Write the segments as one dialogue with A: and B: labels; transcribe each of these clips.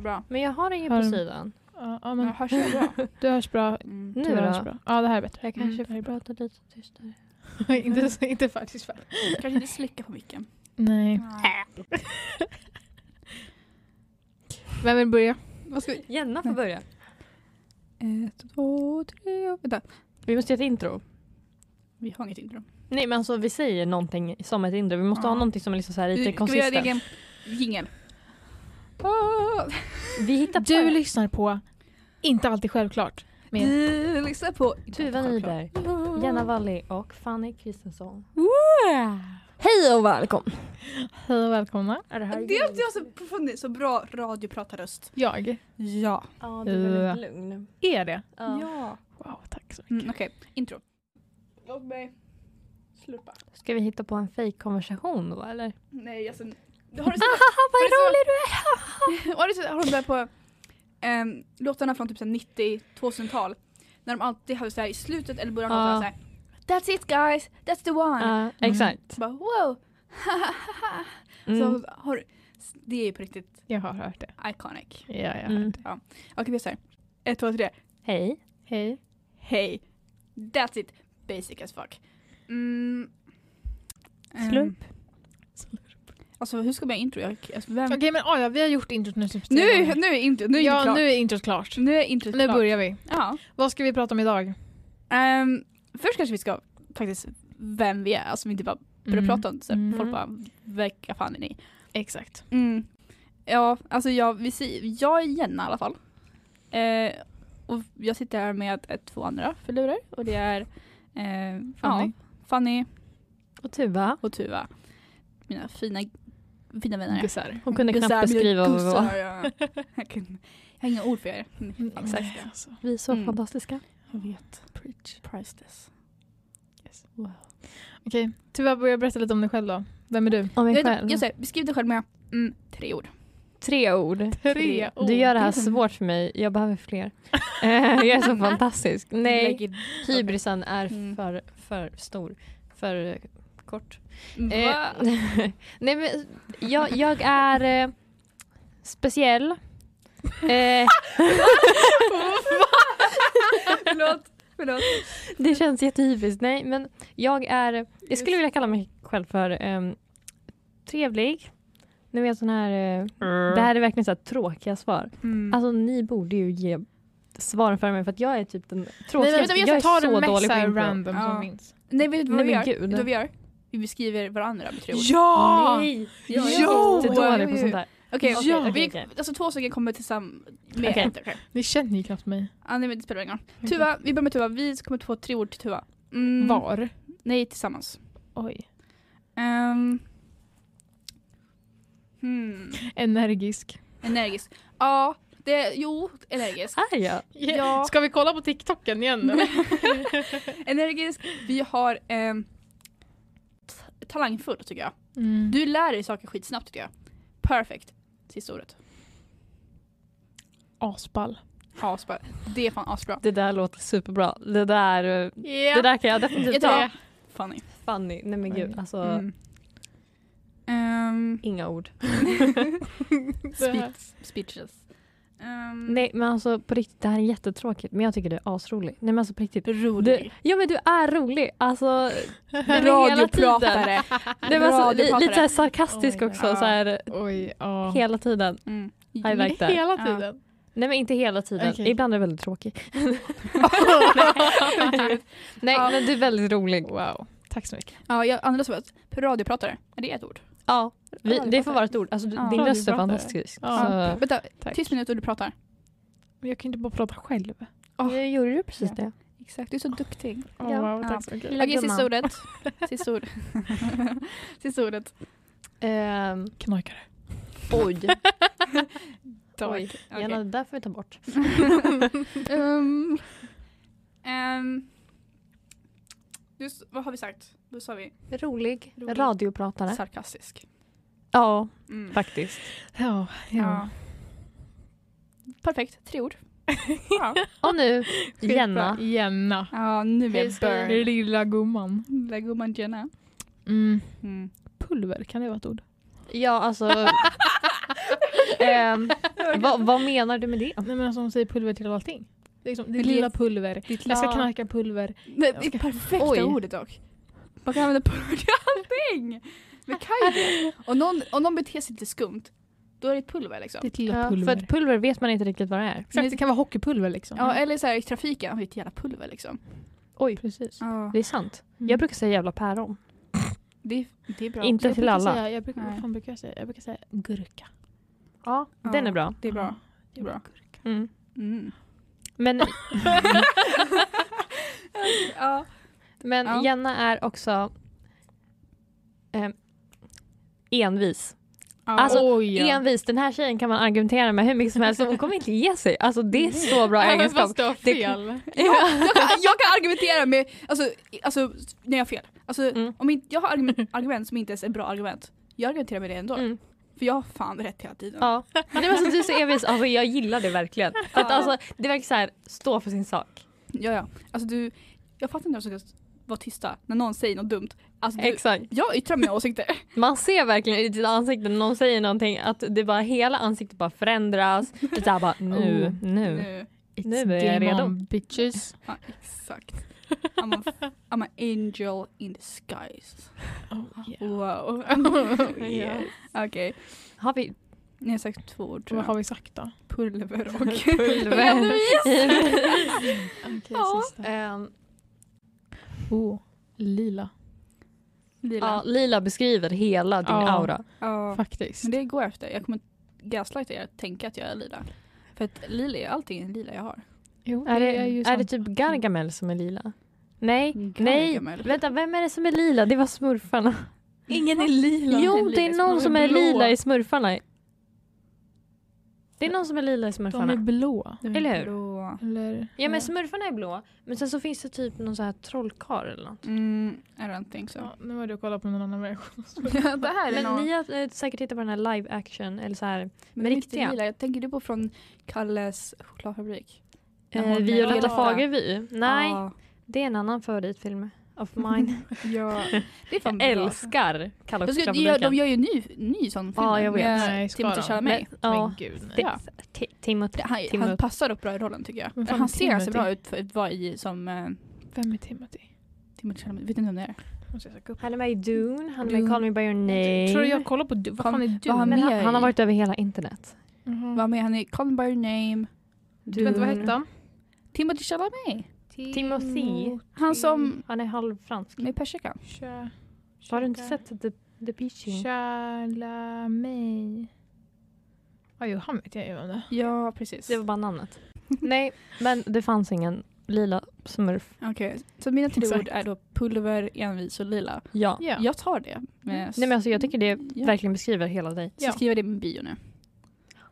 A: bra.
B: Men jag har ingen
C: Har
B: på
C: du-
B: sidan.
C: Ja, ja,
A: Jag
C: men
A: hörs jag bra?
C: du hörs bra.
A: Mm.
B: Nu
C: du
B: då?
C: hörs bra. Ja, det här är bättre. Mm,
B: Jag kanske
C: det här är
B: får
C: bra.
B: prata lite tystare.
C: inte, så- inte faktiskt för.
A: Kanske inte slicka på micken.
C: Nej.
B: Vem vill börja?
A: Vad ska vi?
B: Jenna får
A: Nej.
B: börja.
A: Ett, två, tre och... Vänta.
B: Vi måste göra ett intro.
A: Vi har inget intro.
B: Nej men alltså vi säger någonting som ett intro. Vi måste
A: Ja.
B: ha någonting som är liksom så här lite
A: Ska vi göra
B: konsistent.
A: egen jingel? Åh,
B: Vi hittar på
C: Du lyssnar på Inte alltid självklart. med-
A: Du lyssnar på...
B: Tuva Nyberg, Jenna Walli och Fanny Kristensson.
D: Hej och välkommen!
C: Hej och välkomna.
B: Är det här
A: Det är alltid jag som får så bra radiopratarröst.
C: Jag
A: Ja.
B: Ja,
C: du är väldigt
B: lugn.
C: är det.
A: ja.
C: Wow, tack så mycket.
A: Mm, Okej, intro. Låt mig slurpa.
B: Ska vi hitta på en fejkkonversation då eller?
A: Nej, alltså... Har du sett,
B: vad
A: Har du så- har du
B: rolig du
A: sett har de där på ehm, låtarna från typ så här 90 2000-tal? När de alltid hade så här i slutet eller början av
B: Ja.
A: låtarna så här. That's it guys, that's the one.
B: Ja, mm. exakt.
A: Så bara wow.
B: Mm.
A: Så har, det är ju på riktigt
C: Jag har hört det.
A: iconic.
C: Ja, jag har
B: Mm.
C: hört det.
A: Okej, vi gör så här. Ett, två, tre.
B: Hej. Hej.
A: Hej. That's it. Basic as fuck. Mm. Ehm,
C: Slump.
A: Alltså hur ska man göra intro? Jag, alltså, vem?
C: Okej, men oh, ja, vi har gjort introt nu. typ
A: Nu,
C: tre
A: nu är intro, nu
C: gånger.
A: är
C: ja,
A: det klart.
C: nu är introt klart.
A: Nu är introt
C: Nu
A: klart.
C: börjar vi.
A: Ja.
C: Vad ska vi prata om idag?
A: Ehm, först kanske vi ska faktiskt vem vi är, alltså vi inte bara börjar prata om det. så här,
C: Mm.
A: Folk bara, vilka fan är ni?
C: Exakt.
A: Mm. Ja, alltså jag, vi säger, jag är Jenna i alla fall. Eh, och jag sitter här med ett, två andra filurer och det är eh,
C: Fanny.
A: Ja, Fanny
B: Och Tuva.
A: och Tuva. Mina fina, fina vänner.
C: Gussar.
B: Hon kunde
A: Gussar, mina
B: knappt beskriva vad vi var.
A: gussar, ja. jag, kunde- jag har inga ord för er. Mm, Exakt.
C: Nej, Alltså.
B: Vi är så
A: Mm.
B: fantastiska.
A: Jag vet.
C: Preach.
A: Priceless.
C: Yes. Wow. Okej, Tuva börja berätta lite om dig själv då. Vem är du?
B: Om mig
A: Jag,
B: själv.
A: vet- jag säger, beskriv dig själv med mm, tre ord.
B: Tre ord.
A: Tre
B: Du gör det här
A: Det är-
B: svårt för mig. Jag behöver fler. Eh, jag är så fantastisk. Nej,
A: Lägg in-
B: hybrisen är
A: Mm.
B: för, för stor. För eh, kort. Eh,
A: Va?
B: nej, men jag, jag är eh, speciell. Eh,
A: Förlåt. Förlåt.
B: det känns jättehypiskt. Nej, men jag är... Jag skulle vilja kalla mig själv för eh, trevlig. Ni vet sån här... Eh, det här är verkligen så här tråkiga svar.
C: Mm.
B: Alltså ni borde ju ge svaren för mig för att jag är typ den
C: Nej,
B: tråkigaste.
C: men, jag,
B: jag är
C: tar
B: så
C: den mest
B: dålig
C: så
B: på
C: här
B: impro.
C: random
A: Ja.
C: som finns.
A: Nej vet du vad
B: Nej,
A: vi
B: men
A: gör?
B: gud.
A: Vet du vad vi gör? Vi beskriver varandra med tre ord.
C: Ah! Ja!
B: Nej!
A: Ja, ja,
B: Jag är
A: ja.
B: jättedålig
A: Jo,
B: på
A: jo.
B: sånt där.
A: Okej,
B: Ja.
A: okej, vi-
B: Okej, okej.
A: alltså två stycken kommer tillsammans med
B: Okej.
A: ett. okej.
C: Ni känner ju knappt mig.
A: Ah, nej men det spelar ingen roll. Tuva, vi börjar med Tuva. Vi kommer få tre ord till Tuva. Mm,
C: Var?
A: Nej, tillsammans.
C: Oj.
A: Ehm. hmm.
C: Energisk.
A: Energisk. Ja, det, jo, energisk.
B: Är jag?
A: Ja.
C: Ska vi kolla på TikToken igen? eller?
A: Energisk. Vi har ehm, t- talangfull tycker jag.
C: Mm.
A: Du lär dig saker skitsnabbt tycker jag. Perfect. Sista ordet.
C: Asball.
A: Asbra. Det är fan asbra.
B: Det där låter superbra. Det där, eh, det där kan jag definitivt
A: Jag
B: ta.
A: tar Fanny.
B: Fanny, nej men gud
C: Fanny.
B: alltså.
A: Mm. Ehm,
B: Inga ord.
C: Mm.
A: speech, speechless. Ehm,
B: Nej men alltså på riktigt, det här är jättetråkigt men jag tycker det är asroligt. Nej men alltså på riktigt. Du,
A: typ Rolig.
B: ja men du är rolig. Alltså, men hela tiden.
A: Radiopratare.
B: Det var så, li,
A: Radiopratare.
B: lite så här sarkastisk
C: Oh my
B: också.
A: God.
B: Så här,
C: Oj, ja.
B: hela tiden.
A: Mm.
B: I like that.
C: Hela
A: Ja.
C: tiden.
B: Nej men inte hela tiden.
C: Okej.
B: Ibland är det väldigt tråkig. Nej
A: Ja.
B: men du är väldigt rolig.
C: Wow. Tack så mycket.
A: Ja, jag andra svaret. Typ Radiopratare. Är det ett ord?
B: Ja, vi, det får
A: Radiopratare.
B: vara ett ord. Alltså, du-
A: Ja.
B: Din röst är
C: Radiopratare.
B: fantastisk.
C: Ja.
B: Så.
A: Vänta,
C: Tack.
A: tyst minut och du pratar.
C: Men jag kan inte bara prata själv.
B: Jag gjorde du precis det?
A: Exakt, du är så duktig.
C: Oh,
B: Ja.
C: Wow,
A: Ja.
C: tack så mycket.
B: Lilla
A: Okej, sista
B: gumman.
A: ordet. Sista ordet. Sista ordet.
B: Ehm,
C: Knarkare.
B: oj.
A: Oj.
B: oj. Gärna det där får vi ta bort.
A: Ehm, ehm, just, vad har vi sagt? Då sa vi
B: Rolig.
A: Rolig.
B: Radiopratare.
A: sarkastisk.
B: Ja,
A: Mm.
B: faktiskt.
C: Ja,
A: Ja. Perfekt, tre ord. ja.
B: Och nu, Jenna.
C: Jenna.
A: ja, nu är
B: Hej,
A: jag
B: ska vi-
A: burn.
C: Lilla gumman.
A: Där går man Jenna.
C: Mm.
A: Mm.
C: Pulver, kan det vara ett ord?
B: Ja, alltså. Ehm, vad, vad menar du med det?
C: Nej men alltså hon säger pulver till allting. Det, är liksom, det
A: Men det-
C: lilla pulver.
A: Ditt
C: Jag ska
A: la-
C: knarka pulver.
A: Det, det är perfekta
C: Oj.
A: ordet dock. Man kan använda pulver till allting. Men kan ju det. Om någon, om någon beter sig lite skumt, då är det ett pulver liksom.
C: Ditt
B: Ja,
C: lilla
B: för
C: pulver.
B: att pulver vet man inte riktigt vad det är.
C: Försök, det kan vara hockeypulver liksom.
A: Ja, eller så här i trafiken, har vi ett jävla pulver liksom.
B: eh, Oj,
C: precis.
A: Ja.
B: det är sant.
C: Mm.
B: Jag brukar säga jävla päron.
A: Det, det är bra.
B: Inte
C: Jag
B: till
C: brukar
B: alla.
C: Säga, jag brukar,
A: Nej.
C: vad fan brukar jag säga? Jag brukar säga gurka.
B: Ja,
A: Ja.
B: den är bra.
A: Det är bra. Det är bra.
C: Gurka.
B: Mm.
A: Mm.
B: Men,
A: Ja.
B: men
A: Ja.
B: Jenna är också ehm, envis.
A: Ja.
B: Alltså,
C: Oj, ja.
B: Envis, den här tjejen kan man argumentera med hur mycket som helst. Hon kommer inte ge sig. Alltså det är så bra egenskap.
C: Fast du har
B: Det-
C: fel.
A: Ja, jag, kan, jag kan argumentera med, alltså, i- alltså när jag har fel. Alltså,
B: Mm.
A: om inte, jag har argument, argument som inte ens är bra argument. Jag argumenterar med det ändå.
B: Mm.
A: För jag har fan rätt hela tiden.
B: Ja. Nej, men så du är så envis. Alltså, jag gillar det verkligen. För att,
A: Ja.
B: alltså, det verkar så här, stå för sin sak.
A: Ja, ja. Alltså du, jag fattar inte hur de ska vara tysta när någon säger något dumt. Alltså, du,
B: Exakt.
A: jag yttrar mina åsikter.
B: Man ser verkligen i ditt ansikte när någon säger någonting att det bara hela ansiktet bara förändras. Det är så här bara nu,
C: Oh.
B: nu.
A: nu.
B: Nu är jag
C: game
B: redo.
C: on, bitches.
A: Ja, exakt. I'm a, f- I'm an angel in disguise.
C: Oh,
A: Wow.
C: Yeah.
A: Okej,
B: Har vi
A: ni har sagt två ord tror
C: Vad
A: jag.
C: har vi sagt då?
A: Pulver och...
B: pulver?
C: Okej,
A: Ja.
C: sista.
B: Ehm,
C: Eh. Oh, lila.
B: ja,
A: Lila.
B: Lila beskriver hela din
C: Ja.
B: aura.
A: Ja.
C: Faktiskt.
A: Men det går efter. Jag kommer gaslighta er att tänka att jag är lila. För att lila är allting är lila jag har.
C: Jo,
B: Är det,
C: ju
B: är, det
C: sant.
B: typ Gargamel som är lila? Nej, nej.
A: Gargamel.
B: Vänta, vem är det som är lila? Det var smurfarna.
A: Ingen är lila.
B: Jo, det är någon som är
A: blå.
B: lila i smurfarna. Det är någon som är lila i
C: De är
B: smurfarna.
C: blå.
A: De är
B: eller hur?
A: blå.
C: Eller?
B: Ja, men smurfarna är blå. Men sen så finns det typ någon så här trollkarl eller något.
A: Mm, I don't think so.
C: Ja, nu har du kollat på någon annan version.
A: det här
B: Men ni har eh, säkert tittat på den här live action eller så här.
A: Men
B: Men
A: riktiga.
B: riktiga.
A: Lila. Jag tänker du på från Kalles chokladfabrik? När
B: Eh,
A: hon-
B: Violetta
A: Violetta.
B: Fagerby. Nej,
A: Ja,
B: det är en annan favoritfilm of mine.
A: ja. Det är fan
B: jag
A: bra.
B: älskar Kalle och
A: Jag skulle, de, gör, de
B: chokladfabriken.
A: gör ju en ny, ny sån film.
B: Ja, jag vet.
A: med
C: Nej, ska
A: Timothée
C: de?
A: Chalamet.
B: Men- ja,
C: Men gud. nej.
B: det-
A: Ja.
B: Ti- Timothy.
A: Det- Han, han
B: Timothy.
A: passar upp bra i rollen tycker
C: Men
A: jag.
C: fan,
A: Han ser så
C: Timothy.
A: bra ut för att vara i som eh,
C: Vem är Timothy?
A: Timothée Chalamet. Vet inte vem det är.
C: Måste jag söka upp.
B: Han är med i Dune, han är med i
A: Dune.
B: Call Me By Your Name.
C: Tror du jag kollar på du? Vad
A: Fan,
C: fan är du?
A: vad han
B: Men han,
A: med
B: han har
A: i-
B: varit över hela internet.
C: Mhm.
A: Var med han i Call Me By Your Name.
B: Dune.
C: Vänta, vad hette han?
A: Timothée Chalamet.
B: Timothy.
A: Han
C: Mm.
A: som
B: Han är halvfransk.
A: med persikan.
C: Cha-
B: Har du inte
C: Chaka-
B: sett The, The Beaching?
C: Chalamet. Ja, jo, han vet jag ju om det.
A: Ja, precis.
B: Det var bara namnet. Nej, men det fanns ingen lila smurf.
A: Okej, så mina tre
C: Exakt.
A: ord är då pulver, envis och lila.
B: Ja.
C: Ja.
A: Jag tar det. Med Mm,
B: Nej men alltså jag tycker det
A: Ja.
B: verkligen beskriver hela dig.
A: Så skriver jag det i min bio nu.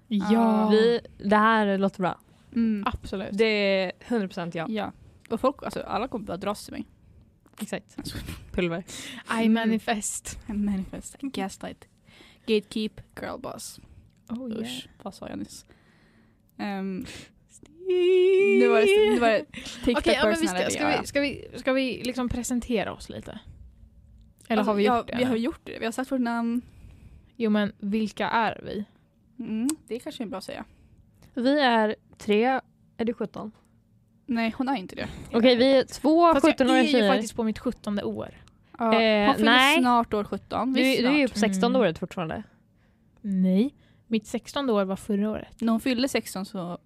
C: Ja.
B: Vi, det här låter bra.
A: Mm.
C: Absolut.
B: Det är 100% Ah, ja.
A: Ja. Och folk, alltså alla kommer bara dras till mig.
B: Exakt. Pulver.
C: I manifest.
A: Manifest, gaslight, gatekeep, girlboss.
C: Oh, yeah.
A: Usch, vad sa jag nyss? Ehm, nu var det, nu var det take
C: Okej,
A: that
C: ja, men vi
A: personality,
C: ska, ska,
A: ja, ja.
C: vi, ska, vi, ska vi liksom presentera oss lite? Eller har vi
A: Alltså,
C: gjort
A: ja,
C: det?
A: Vi har
C: nu?
A: gjort det. Vi har sagt vårt namn.
C: Jo men vilka är vi?
A: Mm, det kanske är bra att säga.
B: Vi är tre, är du 17?
A: Nej, hon är inte det.
B: Okej vi är två
C: Fast jag
B: 17-åriga
C: är ju
B: tjejer.
C: faktiskt på mitt 17 år.
A: Ja,
B: Eh,
A: hon fyller
B: nej.
A: snart år 17.
B: Du,
A: Vi
B: du är ju på 16
C: Mm.
B: året fortfarande.
C: Nej, mitt 16 år var förra året.
A: När hon fyllde 16 så...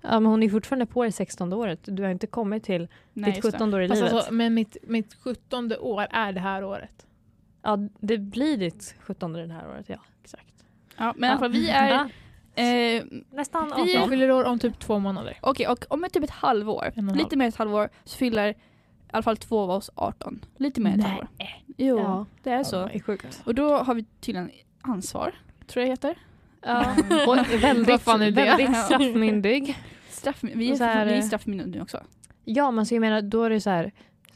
B: Ja men hon är fortfarande på det 16 året. Du har inte kommit till
A: Nej,
B: ditt
A: just det.
B: 17 år i
C: Fast
B: livet.
C: alltså, men mitt, mitt 17 år är det här året.
B: Ja det blir ditt 17 det här året ja.
C: Exakt.
A: Ja, men i alla fall, vi är...
B: Ja,
A: Eh,
B: nästan 18.
A: vi är-
C: Jag fyller år om typ två månader.
A: Okej, och om typ ett halvår,
C: En och en
A: lite mer än ett halvår, så fyller i alla fall två av oss 18. Lite mer än ett
C: Nej.
A: halvår. Jo,
B: Ja.
A: det är så.
C: Ja, det är sjukt.
A: Och då har vi tydligen ansvar, tror jag det heter.
B: Ja. Och
C: Vad
B: väldigt,
C: fan är det?
B: väldigt straffmyndig.
A: Straff, vi är,
B: Och så här,
A: vi är
B: eh,
A: straffmyndiga nu också.
B: Ja men så jag menar då är det så här.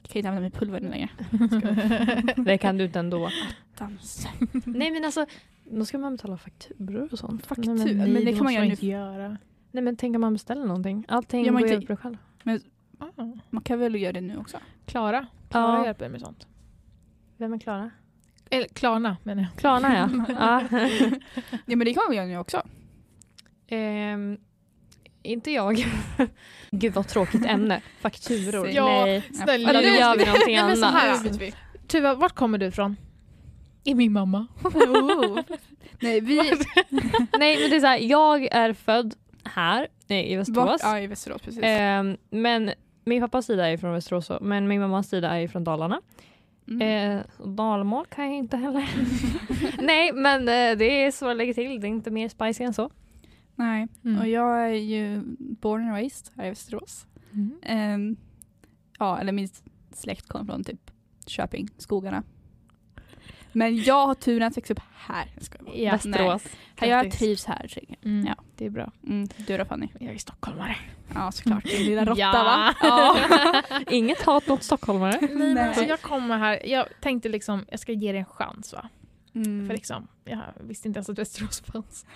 A: Kan inte använda mitt pulver nu längre.
B: Det kan du inte ändå.
A: Dans.
B: Nej men alltså, då ska man betala fakturor och sånt.
A: Faktur-
B: Nej, men,
A: men det kan man göra nu.
C: inte göra.
B: nej, men tänk om man beställer någonting. Allting
A: Ja,
B: går
A: man
B: ju
A: kan-
B: upp för själv.
C: Ah.
A: Man kan väl göra det nu också?
C: Klara. Klara
B: Ja,
C: hjälper med sånt.
B: vem är Klara?
C: Eller Klarna menar jag.
B: Klarna ja. ja.
A: Ja men det kan man väl göra nu också?
B: Ehm, inte jag. Gud vad tråkigt ämne. Fakturor.
A: Nej.
C: Ja,
B: Nej.
C: snälla.
B: Eller nu gör vi någonting
C: Nej, men så
B: annat.
C: här. Tuva, vart kommer du ifrån? Är min mamma.
A: Oh. Nej, vi...
B: Nej men det är så här, jag är född här nej, i
A: Bort,
B: Västerås.
A: ja, i Västerås, precis.
B: Ehm, men min pappas sida är från Västerås men min mammas sida är från Dalarna.
A: Mm.
B: Mm. dalmål kan jag inte heller. Nej men eh, det är så jag lägger till, det är inte mer spicy än så.
A: Nej,
B: mm.
A: och jag är ju born and raised här i Västerås.
C: Mm.
A: Ehm, ja, eller min släkt kom från typ Köping, skogarna. Men jag har turen att växa upp här. Jag skojar bara.
B: Ja. Västerås.
A: Nej, jag
C: Grattis.
A: trivs här. Tjej.
C: Mm.
A: Ja.
C: Det är bra.
A: Mm. Du då Fanny?
C: Jag är stockholmare.
A: Ja såklart, din lilla råtta
C: Ja.
A: va? Ja.
B: Inget hat mot stockholmare.
C: Nej,
A: Nej.
C: men alltså jag kommer här, jag tänkte liksom, jag ska ge dig en chans va.
A: Mm.
C: För liksom, jag visste inte ens att Västerås fanns.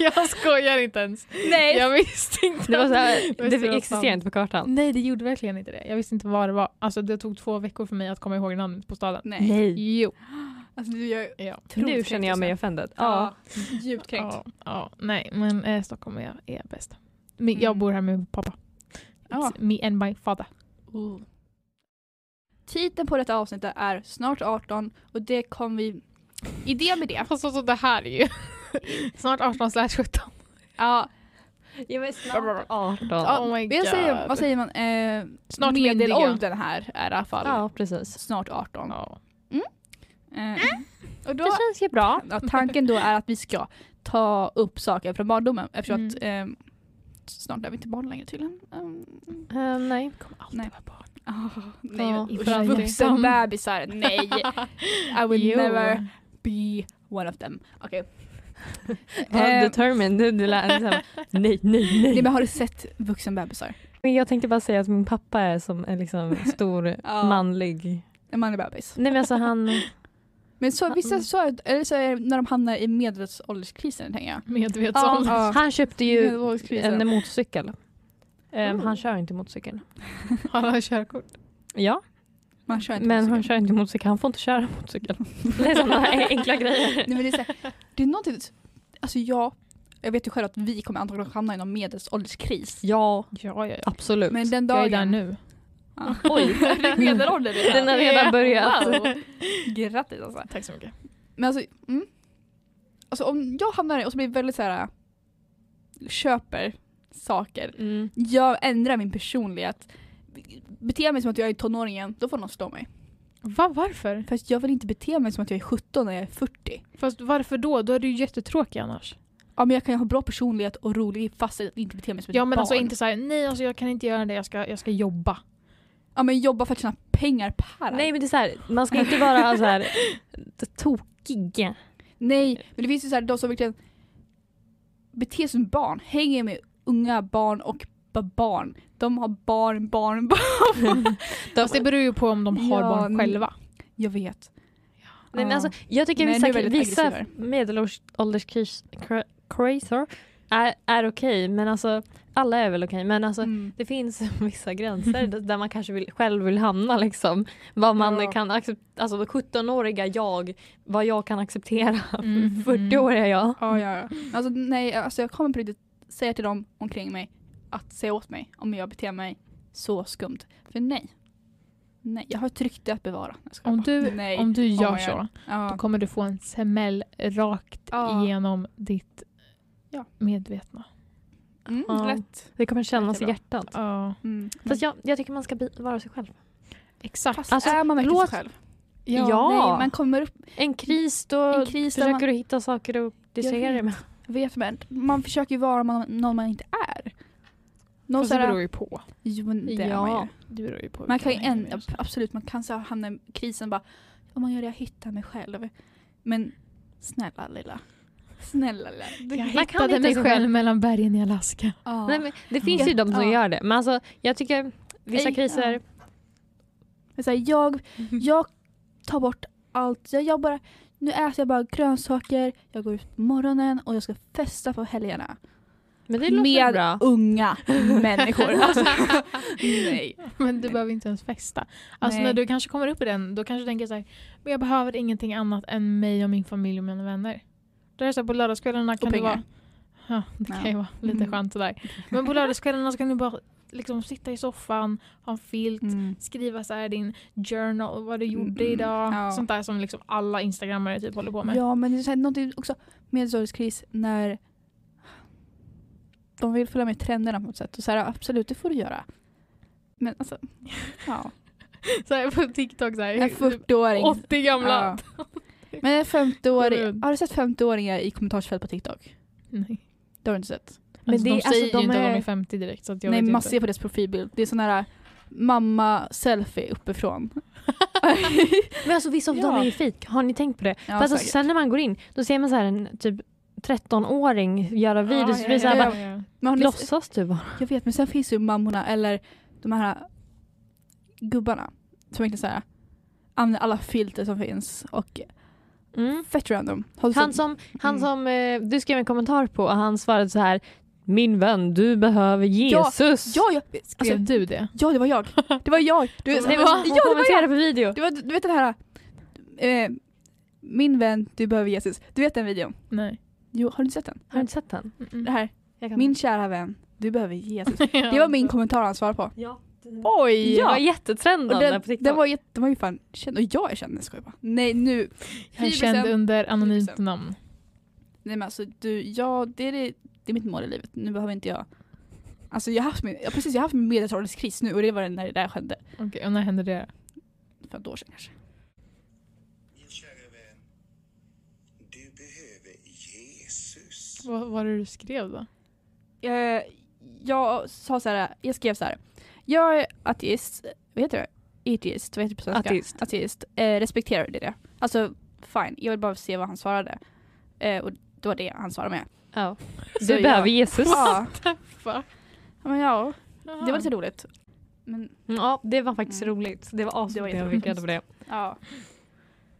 C: jag skojar inte ens.
A: Nej!
C: Jag visste inte.
B: Det, var så här,
C: Västerås
B: det
C: fanns.
B: existerar inte på kartan.
C: Nej det gjorde verkligen inte det. Jag visste inte vad det var. Alltså det tog två veckor för mig att komma ihåg namnet på staden.
A: Nej.
C: Jo.
A: Alltså du gör
C: Ja.
B: Nu känner jag mig offended. Ja.
A: ja. djupt kränkt.
C: Ja, ja, nej men eh, Stockholm är, är bäst. Men jag
A: Mm.
C: bor här med pappa.
A: Ja.
C: It's me and my father.
A: Oh. Titeln på detta avsnittet är Snart 18 och det kom vi... Idé med det.
C: Fast alltså det här är ju snart 18 slash 17.
A: Ja,
B: Jag är
C: snart
B: 18.
A: ja,
C: Oh my
A: jag säger,
C: God.
A: vad säger man? Eh,
C: Snart myndiga.
A: medelåldern här är i alla fall
B: Ja, precis.
A: snart 18.
C: Ja.
A: Eh, och då,
B: Det känns ju bra.
A: ja, tanken då är att vi ska ta upp saker från barndomen eftersom att
C: Mm.
A: eh, snart är vi inte barn längre tydligen. Um,
B: Eh, nej.
C: Kommer
A: Nej.
C: alltid vara barn.
A: nej,
B: Ja,
A: usch,
C: ifrån-
A: vuxenbebisar, nej. I will
C: Jo.
A: never be one of them. Okej.
B: Vad
A: Eh,
B: determined du, du lät liksom, nej, nej,
A: Nej
B: nej.
A: men har du sett vuxenbebisar?
B: Men jag tänkte bara säga att min pappa är som en liksom stor
A: Ja.
B: manlig...
A: En manlig bebis.
B: Nej men alltså han...
A: Men så, vissa så, är- eller så är det när de hamnar i medelålderskrisen tänker
C: Mm.
A: jag.
C: Medvetslås.
A: Ja.
B: Han köpte ju
A: Medelålderskrisen.
B: en motorcykel. Ehm,
A: Oh.
B: Han kör inte motorcykel.
C: Har han körkort?
B: Ja,
A: Man kör inte
B: men han
A: motorcykel.
B: kör inte motorcykel. Han får inte köra motorcykel. Det är sådana enkla grejer.
A: Nej, men det, är så här, det är någonting, alltså jag, jag vet ju själv att vi kommer antagligen hamna i någon medelålderskris.
B: Ja,
C: Ja, ja, ja.
B: absolut.
A: Men den dagen...
C: Jag är där nu.
A: Ja.
B: Oj.
A: Det är medelålder det
B: Den har redan börjat.
A: Wow. Grattis alltså.
C: Tack så mycket.
A: Men alltså, mm. alltså om jag hamnar i, och så blir jag väldigt så här köper saker.
B: Mm.
A: Jag ändrar min personlighet. Beter jag mig som att jag är tonåring igen, då får någon slå mig.
C: Va, varför?
A: För att jag vill inte bete mig som att jag är 17 när jag är 40.
C: Fast varför då? Då är du ju jättetråkig annars.
A: Ja men jag kan ju ha bra personlighet och rolig fast jag inte beter mig som ett
C: Ja men
A: barn.
C: alltså inte såhär, nej alltså jag kan inte göra det, jag ska, jag ska jobba.
A: Ja men jobba för att tjäna pengar per.
B: Nej men det är så här, man ska inte vara så här tokig.
A: Nej, men det finns ju så här, de som verkligen beter sig som barn, hänger med unga barn och ba- barn. De har barn, barn, barn.
C: Fast det beror ju på om de har
A: Ja,
C: barn
A: n-
C: själva.
A: Jag vet.
B: Nej, men
A: Ja.
B: alltså, jag tycker
A: Nej,
B: vissa,
A: du är väldigt
B: vissa
A: aggressivare.
B: medelålderskriser är, är okej, men alltså alla är väl okej. men alltså
A: Mm.
B: det finns vissa gränser d- där man kanske vill, själv vill hamna. Liksom, vad man
A: Ja.
B: kan acceptera, alltså 17-åriga jag, vad jag kan acceptera.
C: Mm,
A: Mm-hmm.
B: 40-åriga jag.
A: Ja, ja, ja. Alltså, nej, alltså jag kommer på riktigt säga till dem omkring mig att säga åt mig om jag beter mig så skumt. För nej. Nej, jag har ett rykte att bevara. Jag skojar
C: Om
A: bara.
C: du,
A: nej.
C: om du gör
A: my
C: så,
A: ja.
C: då kommer du få en smäll rakt
A: Ja.
C: igenom ditt
A: Ja.
C: medvetna.
A: Mm,
B: Ja.
A: lätt.
B: Det kommer kännas i
A: Jättebra.
B: hjärtat.
C: Ja,
A: Mm.
B: Fast jag, jag tycker man ska bi- vara sig själv.
C: exakt.
A: Fast
B: alltså,
A: är man verkligen
B: låt-
A: sig själv?
B: Ja.
A: Nej, man kommer upp
B: En kris då
A: i en kris där
B: försöker
A: man
B: du hitta saker att
A: Jag
B: distrahera dig
A: vet.
B: med.
A: vet man, man försöker ju vara man, någon man inte är. Någon
C: Fast det
A: sådär,
C: beror ju på.
A: jo, men det är
B: Ja.
A: man ju.
C: Det beror ju på
A: Man kan ju
C: vilka man hänger
A: en,
C: med.
A: absolut, man kan så här hamna i krisen bara, om man gör det, jag hittar mig själv. Men snälla lilla. Snälla lilla.
C: Jag
B: kan
C: hittade
B: inte
C: mig
B: sig
C: själv
B: själv.
C: mellan bergen i Alaska.
A: Ja.
B: Nej, men det finns ju de som
A: Ja.
B: gör det. Men alltså, jag tycker vissa
A: Ej,
B: kriser...
A: ja. Men så här, jag,
C: Mhm.
A: jag tar bort allt. Jag, jag bara, nu äter jag bara grönsaker, jag går ut på morgonen och jag ska festa på helgerna.
B: Men det låter
A: Med
B: bra.
A: unga människor. Alltså, nej.
C: Men du behöver inte ens festa. Alltså
A: Nej.
C: när du kanske kommer upp i den, då kanske du tänker så här, men jag behöver ingenting annat än mig och min familj och mina vänner. Då är det så här, på lördagskvällarna kan det
A: pengar.
C: vara Ja, det kan ju vara lite
A: Mm.
C: skönt sådär. Men på lördagskvällarna ska ni bara liksom sitta i soffan, ha en filt,
A: Mm.
C: skriva så här din journal, vad du gjorde
A: Mm,
C: idag.
A: ja.
C: Sånt där som liksom alla instagrammare typ håller på med.
A: Ja, men det är så här, någonting också medelålderskris när de vill följa med i trenderna på något sätt. Och så här, absolut, det får du göra. Men alltså, ja.
C: Så här på TikTok så
A: En
C: här, typ
A: 40-åring.
C: 80 gamla.
A: Ja. Men en 50-åring.
C: Mm.
A: Har du sett 50-åringar i kommentarsfält på TikTok?
C: Nej.
A: Det har du inte sett.
C: Men
B: Men
C: alltså,
B: det är-
C: de
B: alltså,
C: säger ju
B: de
C: inte att
B: är-
C: de är 50 direkt så att jag
A: Nej,
C: vet
A: man
C: inte.
A: ser på deras profilbild. Det är sån här mamma-selfie uppifrån.
B: Men alltså vissa av
A: Ja.
B: dem är ju fejk. Har ni tänkt på det?
A: Ja,
B: För alltså,
A: säkert.
B: sen när man går in, då ser man så här en typ 13-åring göra videos. det blir så här
A: ja,
B: bara,
A: Men har ni-
B: låtsas du bara.
A: Jag vet, men sen finns det ju mammorna eller de här gubbarna som verkligen såhär använder alla filter som finns och
B: Mm.
A: fett random. Har du
B: Han
A: sett-
B: som, han
A: Mm.
B: som eh, du skrev en kommentar på och han svarade så här Min vän, du behöver
A: Ja,
B: Jesus.
A: Ja, ja,
C: Skrev
A: alltså,
C: du det?
A: ja, det var jag. Det var jag. Du,
B: det var, hon
A: ja, det var jag.
B: kommenterade på video.
A: Det var, du vet den här, eh, min vän, du behöver Jesus. Du vet den videon?
C: Nej.
A: Jo, har du inte sett den?
B: Har du inte sett den?
A: Det här,
B: Jag kan-
A: min kära vän, du behöver Jesus. Det var min kommentar han svarade på.
B: Ja,
A: Oj!
B: det var
A: Ja. Och
B: jättetrendande
A: den,
B: på TikTok.
A: den, var, jätte- den var ju fan känd, och jag är känd, nej, skojar bara. Nej nu.
C: Han är
A: Hybrisen.
C: känd under anonymt
A: Hybrisen.
C: namn.
A: Nej men alltså du, ja det är, det, det är mitt mål i livet. Nu behöver inte jag... Alltså jag har haft min, jag, precis, jag har haft min medelålderskris nu och det var den när det där skedde.
C: Okej, och när hände det?
A: För ett år sedan kanske.
E: Min kära vän, du behöver Jesus.
C: Vad var det du skrev då?
A: Jag, Eh, jag sa så här, jag skrev så här. Jag är ateist, vad heter det? Ateist, vad heter det på svenska?
B: Ateist.
A: Ateist. Eh, respekterar det det? Alltså fine, jag vill bara se vad han svarade. Eh, och det var det han svarade med.
B: Ja.
A: Så
B: Du
A: jag-
B: behöver Jesus.
A: Ja,
C: Fuck.
A: ja, men ja,
C: Jaha.
A: det var lite roligt. Men
B: Mm, Ja, det var faktiskt
A: Mm.
B: roligt. Det var
A: Det var
B: asroligt när jag fick reda på det.
A: ja.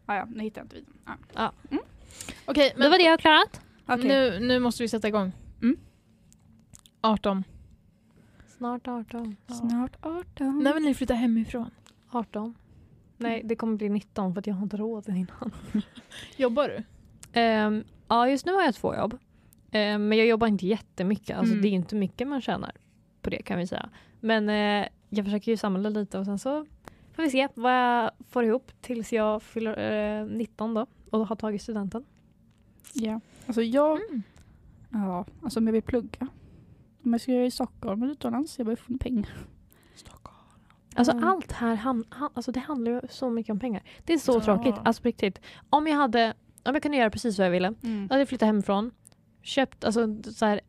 A: Ja, ja, nu hittar jag inte videon. Ja.
C: Okej, men
B: det var det jag har klarat.
A: Okej.
C: nu, nu måste vi sätta igång.
A: Mm.
C: 18.
B: Snart 18.
A: Snart
B: Mm.
A: 18.
C: När vill ni flytta hemifrån?
B: 18. Nej, det kommer bli 19 för att jag har inte råd innan.
C: Jobbar du?
B: Ehm, ja, just nu har jag två jobb. Ehm, men jag jobbar inte jättemycket. Alltså,
A: Mm.
B: Det är inte mycket man tjänar på det kan vi säga. Men eh, jag försöker ju samla lite och sen så får vi se vad jag får ihop tills jag fyller eh, 19 då och har tagit studenten.
A: Ja, alltså jag...
C: Mm.
A: Ja, alltså om jag vill plugga. Om jag ska göra i Stockholm eller utomlands, jag behöver få pengar.
C: Stockholm.
B: Alltså
A: Mm.
B: allt här ham- ha- alltså, det handlar ju så mycket om pengar. Det är så
C: Ja.
B: tråkigt. Alltså på riktigt. Om jag, hade, om jag kunde göra precis vad jag ville
A: Mm.
B: Jag hade flyttat hemifrån, köpt alltså, så här,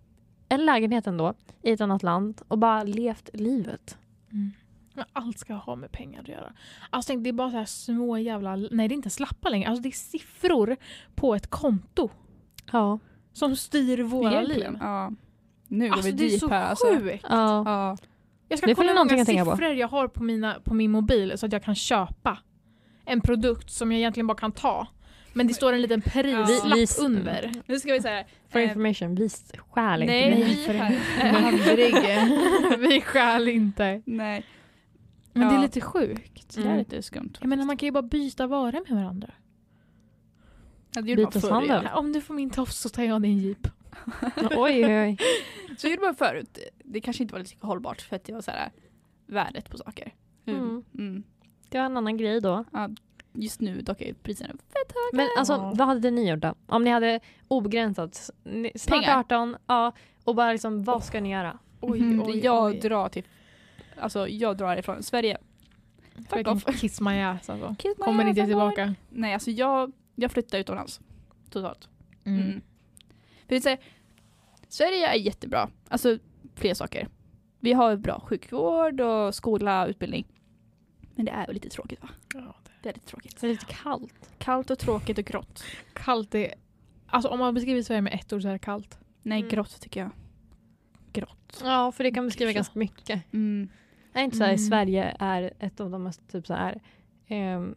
B: en lägenhet ändå i ett annat land och bara levt livet.
C: Mm. Men allt ska ha med pengar att göra. Alltså tänk, det är bara så här små jävla... Nej, det är inte slappar längre. Alltså det är siffror på ett konto
B: Ja.
C: som styr våra
A: Egentligen.
C: liv.
A: Ja. Nu går
C: Alltså
A: vi
C: det är
A: deep
C: så
A: här alltså.
C: sjukt.
B: ja.
A: Ja.
C: Jag
B: Det
C: ska
B: är
C: kolla hur
B: någonting
C: många
B: att tänka på.
C: siffror jag har på, mina, på min mobil så att jag kan köpa en produkt som jag egentligen bara kan ta. Men det står en liten prislapp
B: Vi- vi-
C: under.
A: Nu ska vi säga
B: For information, vi stjäl inte.
A: Nej,
B: grejer.
A: vi
C: för
A: Aldrig.
C: Vi stjäl inte.
A: Nej.
C: Men det
A: Ja.
C: är lite sjukt.
A: Det där är
B: Mm.
A: lite skumt.
C: Jag menar man kan ju bara byta varor med varandra.
A: ja, det gjorde man förr.
B: byteshandel.
A: ja.
B: Ja.
C: Om du får min tofs så tar jag din jeep.
B: Oj, oj, oj.
A: Så gjorde man förut. Det kanske inte var lika hållbart för att det var så här eh, värdet på saker.
B: Mm.
A: Mm.
B: Det var en annan grej då.
A: Just nu dock är priserna
B: Men alltså,
C: Ja.
B: vad hade ni gjort då? Om ni hade obegränsat, ni- snart
A: Pengar.
B: 18, ja, och bara liksom, vad ska ni göra?
C: Oj,
A: Mhm.
C: oj,
A: Jag
C: oj.
A: drar till... Alltså jag drar ifrån Sverige. Fuck
C: Fucking
A: off.
C: Kiss my ass alltså.
A: Kiss my
C: Kommer
A: ass,
C: inte
A: I'm going.
C: tillbaka.
A: Nej, alltså jag, jag flyttar utomlands. Totalt. Mm.
C: Mm.
A: För det är så här, Sverige är jättebra. Alltså fler saker. Vi har bra sjukvård och skola och utbildning. Men det är ju lite tråkigt va?
C: Ja, det
A: Det är lite tråkigt.
B: Det är lite kallt.
A: Kallt och tråkigt och grått.
C: är Kallt är... Alltså om man beskriver Sverige med ett ord så är det kallt.
A: Nej,
B: Mm.
A: grått tycker jag. Grått.
B: Ja, för det kan beskriva
A: Så.
B: ganska mycket.
A: Mm.
B: Är inte så här,
C: Mm.
B: Sverige är ett av de mest typ så här, ehm,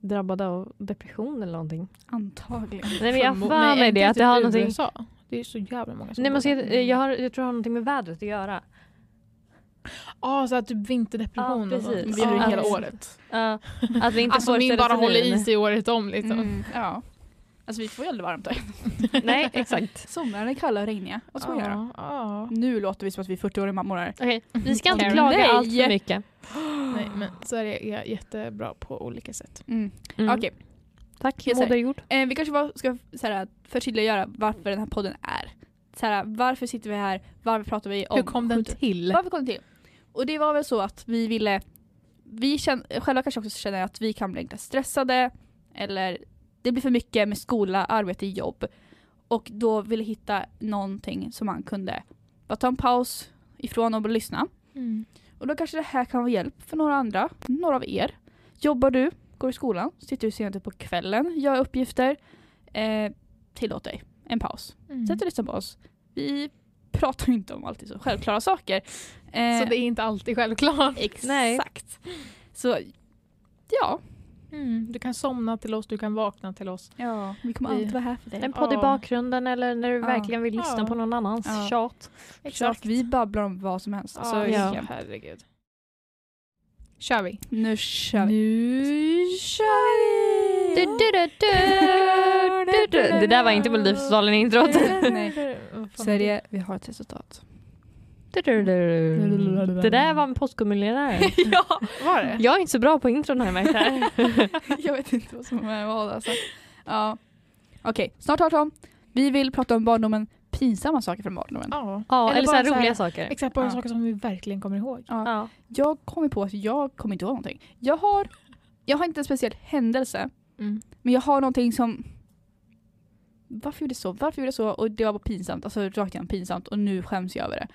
B: drabbade av depression eller någonting?
A: Antagligen.
B: Nej men jag har
C: Förmo-
B: för mig
C: inte
B: det. Att
C: typ
B: det har
C: i
B: någonting...
C: USA. Det är så jävla många som
B: Nej, men
C: bor
B: så
C: där.
B: jag, jag, har, jag tror det har någonting med vädret att göra.
C: Ja, så att typ vinterdepression
B: Ja,
C: och sånt.
B: precis.
C: Vi gör det
A: Ja,
C: hela
A: precis.
C: året.
B: Ja, att vi inte Mm.
C: Alltså
B: får
C: min bara
B: serotonin.
A: Mm.
C: håller i sig året om liksom.
A: Ja. Alltså vi får ju aldrig varmt här.
B: Nej, exakt.
A: Sommaren är kalla och regniga. Vad ska vi göra?
C: Ja, ja.
A: Nu låter vi som att vi är 40-åriga mammor här.
B: Okej, vi ska inte
A: Karen.
B: klaga
A: Nej.
B: allt för mycket.
C: Nej, men Sverige är jättebra på olika sätt.
A: Mm.
B: Mm.
A: Okej,
B: Tack,
A: Jag säger-
B: Moder jord.
A: eh, vi kanske bara ska så här, förtydliggöra varför den här podden är. Så här, varför sitter vi här? Varför pratar vi om
C: Hur kom den
A: sjukdom?
C: till?
A: Varför kom den till? Och det var väl så att vi ville, vi känner, själva kanske också känner att vi kan bli lite stressade eller det blir för mycket med skola, arbete, jobb. Och då ville hitta någonting som man kunde bara ta en paus ifrån och bara lyssna.
C: Mm.
A: Och då kanske det här kan vara hjälp för några andra, några av er. Jobbar du, går i skolan, sitter du sent på kvällen, gör uppgifter. Eh, tillåt dig en paus.
C: Mm.
A: Sätt och lyssna på oss. Vi pratar ju inte om alltid så självklara saker.
C: Så
A: Eh,
C: det är inte alltid självklart.
B: Nej.
A: Exakt. Så ja.
C: Mm. Du kan somna till oss, du kan vakna till oss.
A: ja. Vi kommer
C: Vi-
A: alltid vara här för dig.
B: En podd i
C: Ja.
B: bakgrunden eller när du
A: Ja.
B: verkligen vill lyssna
C: Ja.
B: på någon annans
A: Ja.
B: tjat.
A: Exakt. Vi babblar om vad som helst. Alltså,
C: ja,
B: ja.
A: egentligen.
C: herregud. Kör vi.
A: Nu kör vi.
C: Nu kör
B: Du, du, du, du, du, du. Det där var inte Melodifestivalen-introt.
A: Nej. Sverige, vi har ett resultat.
B: Du, du, du, du. Det där var en Postkodmiljonär.
A: ja,
C: Var det?
B: Jag är inte så bra på intron har jag märkt här.
A: jag vet inte vad som är vad alltså. Ja. Okej, snart har Tom. Vi vill prata om barndomen, pinsamma saker från barndomen.
C: Ja.
B: Ja,
C: Eller
B: eller, så här
C: bara så här-
B: roliga saker.
C: Exakt, bara
A: Ja.
C: saker som vi verkligen kommer ihåg.
B: Ja.
A: Jag kommer på att jag kommer inte ihåg någonting. Jag har, jag har inte en speciell händelse,
C: Mm.
A: men jag har någonting som... Varför gjorde jag så? Varför gjorde jag så? Och det var bara pinsamt, alltså rakt igenom pinsamt och nu skäms jag över det.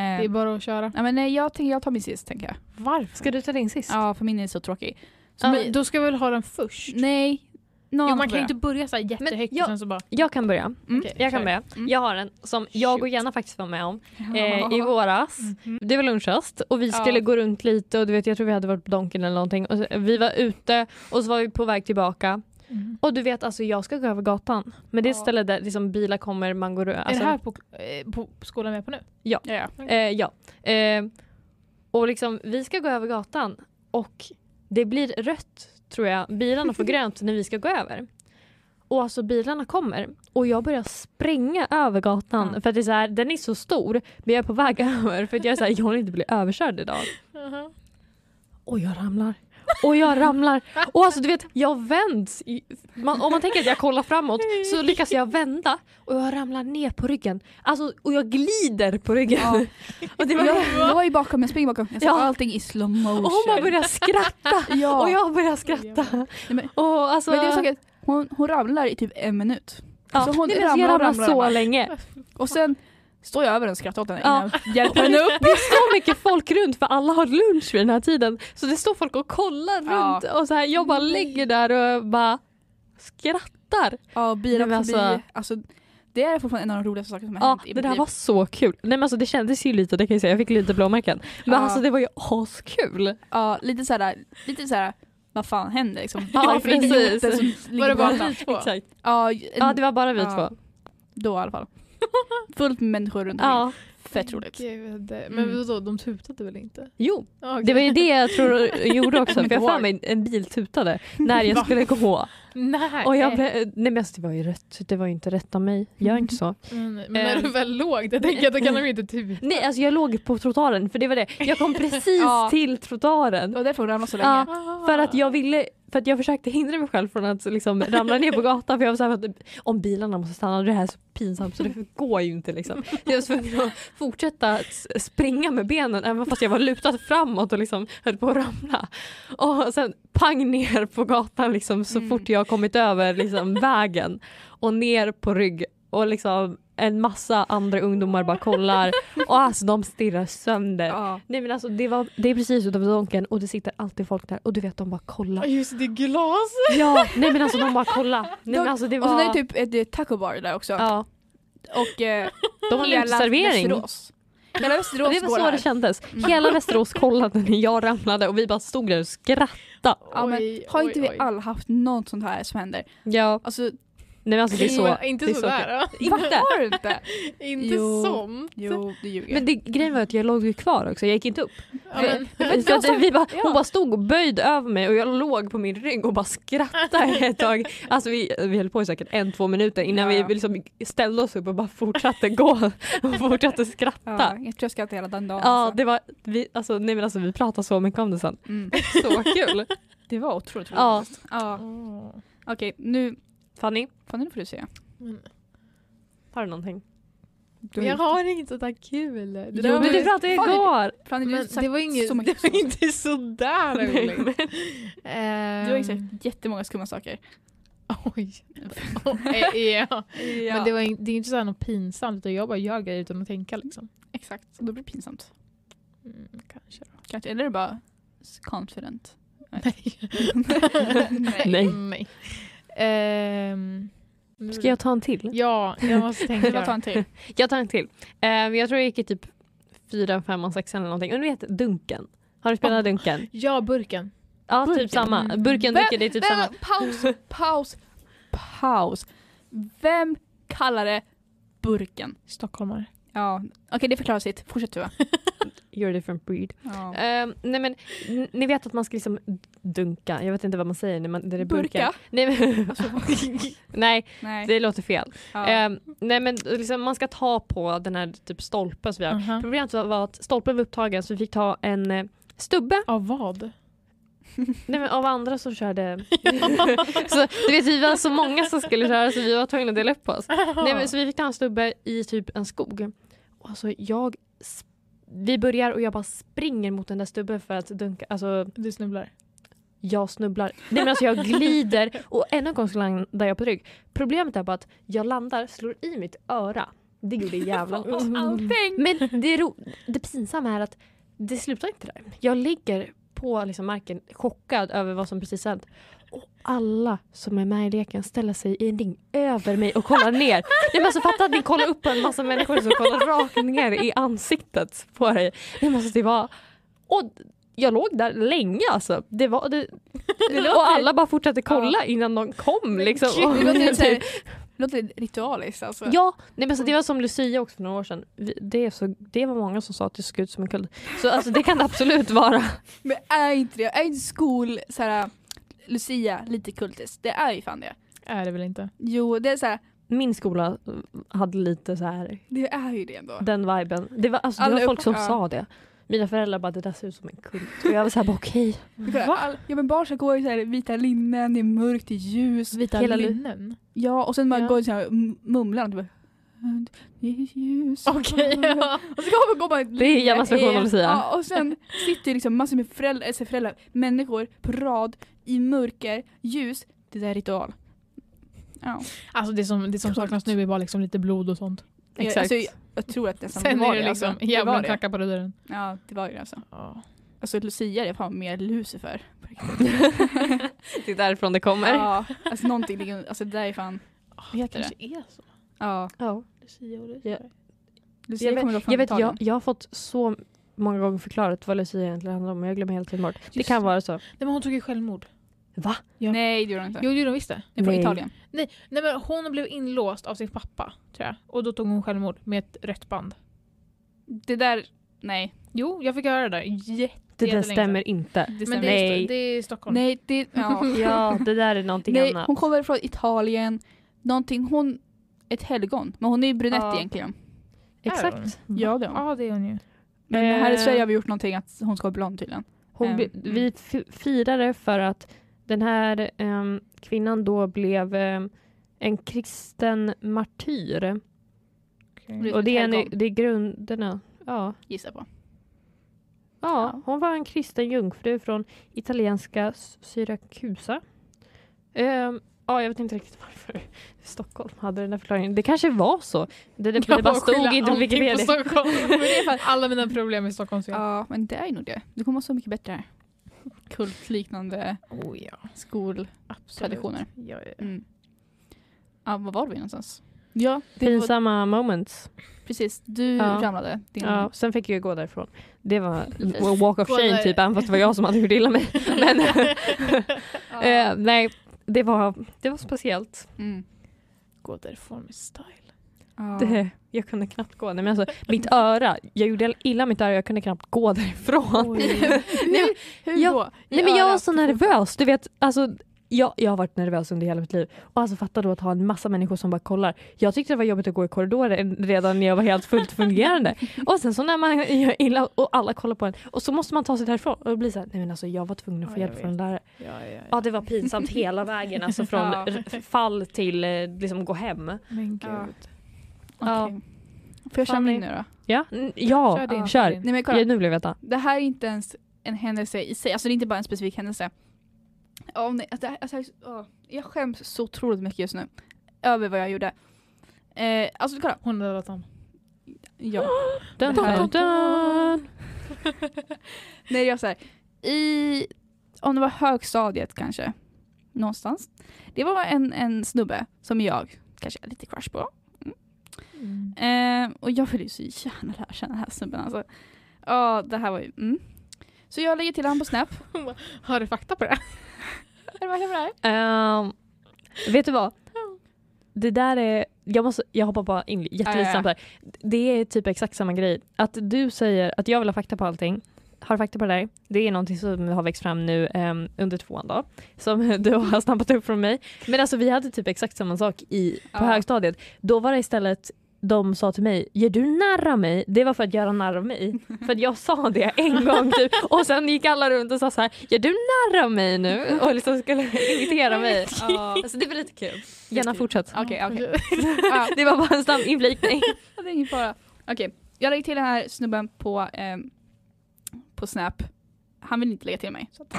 A: Eh,
C: Det är bara att köra.
A: nej, men nej, jag, tänker, jag tar min sist tänker jag.
C: Varför?
B: Ska du ta din sist?
A: Ja, för min är så tråkig. Så
C: Ja,
A: min-
C: men då ska vi väl ha den först?
A: nej, någon
C: Jo,
A: annan
C: man
A: får
C: kan ju inte börja så här jättehögt
B: jag-
C: och sen så bara...
B: Jag kan börja.
A: Mm.
C: Okej,
B: Jag kan
C: kör.
B: börja.
A: Mm.
B: Jag har en som jag och Jenna faktiskt var med om eh, i våras.
C: Mhm.
B: Det var lunchrast och vi
A: Ja.
B: skulle gå runt lite och du vet jag tror vi hade varit på Donken eller någonting. Och så, vi var ute och så var vi på väg tillbaka.
C: Mm.
B: Och du vet alltså jag ska gå över gatan. Men det är ett
A: Ja.
B: ställe där liksom, bilar kommer, man går alltså,
C: är det här på, eh, på skolan vi är på nu?
A: Ja, ja.
B: Eh, ja. Eh, och liksom, vi ska gå över gatan och det blir rött tror jag. Bilarna får grönt när vi ska gå över. Och alltså bilarna kommer och jag börjar spränga över gatan
C: Ja.
B: för att det är så här, den är så stor men jag är på väg över för att jag är så här, jag vill inte bli överkörd idag. Och jag ramlar. Och jag ramlar. Och alltså du vet, jag vänds. i- Man, om man tänker att jag kollar framåt så lyckas jag vända och jag ramlar ner på ryggen. Alltså, och jag glider på ryggen.
A: Ja.
B: Och det var
A: Jag, jag var ju bakom, jag springer bakom. Jag såg
B: Ja.
A: allting i slow motion.
B: Och hon bara började skratta
A: ja.
B: och jag började skratta.
A: Nej, men-
B: Och alltså,
A: Men det är så att hon, hon ramlar i typ en minut.
B: ja.
A: så hon
B: Nej, men alltså, jag
A: ramlar och
B: ramlade
A: ramlar
B: så
A: och ramlar.
B: länge.
A: Och sen står jag över den och skrattar åt henne
B: Ja.
A: innan jag hjälper henne upp.
B: Det är så mycket folk runt för alla har lunch vid den här tiden. Så det står folk och kollar
A: Ja.
B: runt och så här, jag bara ligger där och bara skrattar.
A: Ja, bilen
B: Nej, men
A: förbi.
B: alltså-
A: Alltså, det är fortfarande en av de roligaste sakerna som har
B: Ja,
A: hänt i
B: det
A: mitt
B: där
A: liv.
B: var så kul. Nej men alltså det kändes ju lite, det kan jag säga, jag fick lite blåmärken. Men
A: Ja.
B: alltså det var ju askul.
A: Ja, lite såhär, lite såhär, vad fan händer liksom?
B: Ja,
A: Varför är
B: precis.
A: idioten som
C: Var
A: ligger
C: det
A: på
C: bara
A: gatan?
C: vi två?
B: Exakt.
A: Ja,
B: Ja det var bara vi
A: Ja.
B: två.
A: då i alla fall. Fullt med människor runt omkring.
B: Ja.
A: Fett roligt.
C: Gud. Men
A: Mm.
C: vadå, de tutade väl inte?
B: Jo,
C: Ah, okej.
B: det var ju det jag tror jag gjorde också.
A: kommer
B: För jag
A: inte
B: har för mig en bil tutade när jag
C: Va?
B: skulle gå.
C: Nej.
B: Och jag blev, nej men alltså, det var ju rätt, det var ju inte rätt av mig. Jag är inte så.
C: Men, Mm, men när du väl låg där tänker jag då kan de ju inte tuta.
B: Nej alltså jag låg på trottoaren för det var det. Jag kom precis
A: Ja.
B: till
A: Det
B: trottoaren.
A: var därför hon ramlade så länge.
B: Ja,
C: Ah.
B: för att jag ville, för att jag försökte hindra mig själv från att liksom ramla ner på gatan för jag var så här, att om bilarna måste stanna och det här är så pinsamt så det går ju inte liksom. Så Jag var tvungen att fortsätta s- springa med benen även fast jag var lutad framåt och liksom höll på att ramla. Och sen pang ner på gatan liksom så
A: Mm.
B: fort jag kommit över liksom vägen och ner på rygg och liksom en massa andra ungdomar bara kollar och alltså de stirrar sönder.
A: Ja.
B: Nej men alltså det, var, det är precis utanför Donken och det sitter alltid folk där och du vet de bara kolla.
C: Ja, Just det, glas!
B: Ja, nej men alltså de bara kolla. Nej men alltså det
A: Och sen är
B: var...
A: det typ ett eh, taco bar där också.
B: ja,
A: Och eh,
B: de har
A: hela
B: uteservering.
A: Västerås. Hela
B: Och
A: Västerås
B: Det var
A: går
B: så det
A: här.
B: kändes.
A: Mm.
B: Hela Västerås kollade när jag ramlade och vi bara stod där och skrattade.
A: Ja, men,
C: Oj,
A: har
C: oj,
A: inte vi
C: oj.
A: alla haft något sånt här som händer?
B: Ja.
A: Alltså,
B: Nej men alltså det är så.
C: Men inte
B: det är så
C: sådär. va?
B: Inte?
A: Har du inte?
C: Inte
B: Jo.
C: sånt.
A: Jo, du ljuger.
B: Men det, grejen var att jag låg ju kvar också, jag gick inte upp.
C: Ja, men,
B: Så att vi bara,
A: ja.
B: Hon bara stod och böjde över mig och jag låg på min rygg och bara skrattade ett tag. Alltså vi, vi höll på i säkert en, två minuter innan
A: Ja.
B: vi liksom ställde oss upp och bara fortsatte gå och fortsatte
A: ja,
B: skratta.
A: jag tror jag ska äta hela den
B: Ja,
A: dagen. alltså.
B: det var, vi, alltså, nej men alltså vi pratade så mycket om det sen.
A: Mm.
B: Så kul!
A: det var otroligt roligt.
B: ja,
A: Ja.
C: Åh.
A: Okej, nu,
B: Fanny,
A: fan, nu får du säga.
C: Men-
B: har du någonting?
A: Du,
C: jag har inget sånt där kul. Det,
A: Jo,
C: där
B: Men
C: var-
B: du pratade
A: Fanny,
B: igår!
A: Fanny, du har
C: men
A: sagt
C: det var inget,
A: så mycket
C: det var inte sådär
B: Nej,
C: roligt. Ehm,
B: men-
A: Du har ju sagt jättemånga skumma saker.
C: Oj. Eh, ja.
A: Ja.
C: Men det, var, in- det är inte sådär något pinsamt utan jag bara gör grejer utan att tänka liksom.
A: Exakt, och då blir det pinsamt.
C: Mm, kanske då.
A: Kanske. Eller är det bara s- confident?
C: Nej.
B: Nej.
C: Nej. Ehm, nu-
B: Ska jag ta en till?
C: Ja, jag måste
A: Det
C: tänka.
A: var ta en till.
B: Jag tar en till. Eh, jag tror jag gick i typ fyran, femman, sexan eller någonting. Och du vet Dunken. Har du spelat Dunken?
C: Ja, burken.
B: Ja,
A: Burken.
B: typ samma.
C: Mm.
B: Burken,
A: Vem-
B: Dunken, det är typ samma.
A: Vem, paus, paus, paus. Vem kallar det burken?
C: Stockholmare.
A: Ja, okej det förklarar sitt. Fortsätt Tuva.
B: You're a different breed.
A: Ja.
B: Eh, nej men, n- ni vet att man ska liksom dunka. Jag vet inte vad man säger när, man, när det är burken.
A: Burka?
B: Nej, men,
C: Alltså,
B: nej,
A: Nej.
B: det låter fel.
A: Ja.
B: Eh, nej men liksom, man ska ta på den här typ stolpen som vi har.
C: Aha.
B: Problemet var- var att stolpen var upptagen så vi fick ta en eh, stubbe
C: Av vad?
B: Nej men av andra som körde. så, du vet vi var så många som skulle köra så vi var tvungna att dela upp oss. Nej, men, så vi fick ta en stubbe i typ en skog. Och alltså jag, sp- vi börjar och jag bara springer mot den där stubben för att dunka. Alltså
C: Du snubblar.
B: jag snubblar. Nej men alltså jag glider och ännu en gång så landar jag på rygg. Problemet är bara att jag landar, slår i mitt öra. Det gjorde jävla ont.
A: Allting!
B: Men det, ro- det pinsamma är att det slutar inte där. Jag ligger på liksom marken chockad över vad som precis hänt. Och alla som är med i leken ställer sig i en ring över mig och kollar ner. Nej, men alltså, fatta att ni kollar upp på en massa människor som kollar rakt ner i ansiktet på dig. Nej, men alltså, det var... Och jag låg där länge alltså. Det var, det... Och alla bara fortsatte kolla innan de kom. Liksom.
A: Gud, det
B: Och-
A: låter lite så här- det låter lite ritualiskt alltså.
B: Ja, nej, men så det var som Lucia också för några år sedan. Vi- Det, är så, det var många som sa att det såg ut som en kult. Så alltså, det kan det absolut vara.
A: Men är inte det, är inte skol, såhär, Lucia lite kultiskt? Det är ju fan det.
C: Är det väl inte.
A: Jo, det är såhär,
B: Min skola eh, hade lite så här,
A: det är ju det ändå.
B: den viben. Det var, alltså, det
A: Alla
B: var folk som
A: upp- ja.
B: sa det. Mina föräldrar bara det där ser ut som en kult. Och jag var såhär bara okej.
A: Va? All, ja men barn ska gå i så här vita linnen, det är mörkt, det är ljust.
C: Vita
B: Hela lu-
C: linnen.
A: Ja och sen man
B: Ja.
A: går i så här m- mumlar och typ det är ljus.
C: Okej, ja.
A: Och så går man, går man i ett
B: Det är
A: linne.
B: jävla station av Lucia.
A: Ja och sen sitter ju liksom massor med föräldrar, alltså föräldrar, människor på rad i mörker, ljus. Det där är ritual. Ja.
C: Alltså det som, det som saknas nu är bara liksom lite blod och sånt.
A: Jag, alltså, jag, jag tror att nästan
C: Sen
A: det var
C: är det liksom
A: alltså. det var
C: djävulen
A: det.
C: knackar på dörren.
A: Ja det var ju det alltså.
C: Ja.
A: Alltså Lucia är fan mer Lucifer.
B: Det är därifrån det kommer.
A: Ja, alltså någonting, ligger- alltså det där är fan, vad heter det?
C: är så.
A: Ja.
B: Ja.
C: Lucia och
B: Ja.
A: Lucia
B: Jag,
A: kommer då
B: vet,
A: från
B: jag, vet,
A: Italien.
B: jag, jag har fått så många gånger förklarat vad Lucia egentligen handlar om men jag glömmer helt tiden bort. Det
C: Just
B: kan
C: det.
B: vara så.
C: Nej men hon tog ju självmord.
B: Va?
C: Ja.
A: Nej det gjorde hon inte.
C: Jo det gjorde hon visst det.
A: Det är från
B: Nej.
A: Italien.
C: Nej men hon blev inlåst av sin pappa tror jag. Och då tog hon självmord med ett rött band.
A: Det där, nej.
C: Jo, jag fick höra det där. Jätte,
B: Det där
C: jättelänge sedan.
B: stämmer inte.
A: Det
C: Men
A: stämmer.
C: det
A: Nej.
C: är,
B: Nej.
C: det är Stockholm.
A: Nej, det, ja.
B: Ja, det där är någonting
A: nej,
B: annat.
A: hon kommer från Italien. Någonting, hon, ett helgon. Men hon är ju brunett
B: Ja.
A: egentligen.
B: Exakt.
A: Ja det är hon.
C: Ja det är hon ju.
A: Men här i
B: Eh.
A: Sverige har vi gjort någonting att hon ska vara blond tydligen.
B: Hon
A: Ehm,
B: bli,
A: mm.
B: Vi fi- firade för att den här ehm, kvinnan då blev ehm, en kristen martyr.
A: Det är
B: Och det är, en,
A: helgon.
B: det är grunderna. Ja.
A: Gissar jag på. Ja.
B: ja, hon var en kristen jungfru från italienska S- Syrakusa. Ehm, ja, jag vet inte riktigt varför Stockholm hade den där förklaringen. Det kanske var så. Det, det, det bara stod inte på Wikipedia.
C: Alla mina problem i Stockholm. Ja.
A: Ja men det är nog det. Det kommer vara så mycket bättre här. Kultliknande
C: Oh, ja.
A: skoltraditioner.
C: Absolut. Ja, ja. ja.
A: Mm. Ja var var vi någonstans? Ja, det var,
B: Pinsamma moments.
A: precis. Du
B: Ja.
A: ramlade. Din,
B: Ja, sen fick jag ju gå därifrån. Det var en walk of
C: Gå
B: shame
C: där.
B: typ, även fast det var jag som hade gjort illa mig. Men,
A: Ja.
B: eh, nej, det var, det var speciellt.
A: Mm.
C: gå därifrån med style.
A: Ja.
B: Det, jag kunde knappt gå. Nej, men alltså, mitt öra, jag gjorde illa mitt öra, jag kunde knappt gå därifrån.
A: hur hur
B: jag-
A: då? I
B: Nej, men jag var
A: örat?
B: så nervös. Du vet, alltså, jag, jag har varit nervös under hela mitt liv. Och alltså fatta då att ha en massa människor som bara kollar. Jag tyckte det var jobbigt att gå i korridoren redan när jag var helt fullt fungerande. och sen så när man gör illa och alla kollar på en och så måste man ta sig därifrån och det blir så här, nej men alltså jag var tvungen att få
C: Ja, jag
B: hjälp från en lärare.
C: Ja, ja, ja.
B: Ja det var pinsamt hela vägen alltså från
A: Ja.
B: r- fall till eh, liksom gå hem.
C: Men
A: Ja.
C: gud.
A: Ja.
B: Ja.
A: Får jag känna
B: Fanny.
A: in nu då?
B: Ja, mm, ja.
C: Kör din,
B: kör.
C: din.
A: Nej men kolla.
B: ja nu blev jag veta.
A: Det här är inte ens en händelse i sig, alltså det är inte bara en specifik händelse. Åh, nej, alltså, det här- alltså, det här är så- åh. jag skäms så otroligt mycket just nu. Över vad jag gjorde. Eh, alltså kolla.
C: Hon har dödat honom.
A: Ja.
B: Dun,
A: Det här-
B: dun, dun.
A: Nej jag säger i, om det var högstadiet kanske, någonstans. Det var en, en snubbe som jag kanske är lite crush på.
C: Mm.
A: Eh, och jag vill ju så gärna lära känna den här snubben alltså. Ja, det här var ju, mm. Så jag lägger till honom på Snap.
C: Har du fakta på det?
A: Är det verkligen bra här?
B: Ehm, vet du vad? Det där är, jag, måste, jag hoppar bara in
A: Ja, ja,
B: jättelite
A: ja.
B: snabbt där. Det är typ exakt samma grej. Att du säger att jag vill ha fakta på allting. Har fakta på det där. Det är någonting som har växt fram nu ehm, under tvåan då. Som du har snappat upp från mig. Men alltså vi hade typ exakt samma sak i, på
A: Ja.
B: högstadiet. Då var det istället de sa till mig, gör du narr av mig? Det var för att göra narr av mig. För att jag sa det en gång typ. Och sen gick alla runt och sa så här, gör du narr av mig nu? Och liksom skulle imitera mig.
A: Ja.
B: Alltså det var lite kul. Gärna fortsätt.
A: Okej, okej. Ja.
B: Det var bara en snabb inflikning.
A: Ja, Det är ingen fara. Okej, jag lägger till den här snubben på, ehm, på Snap. Han vill inte lägga till mig. Så att,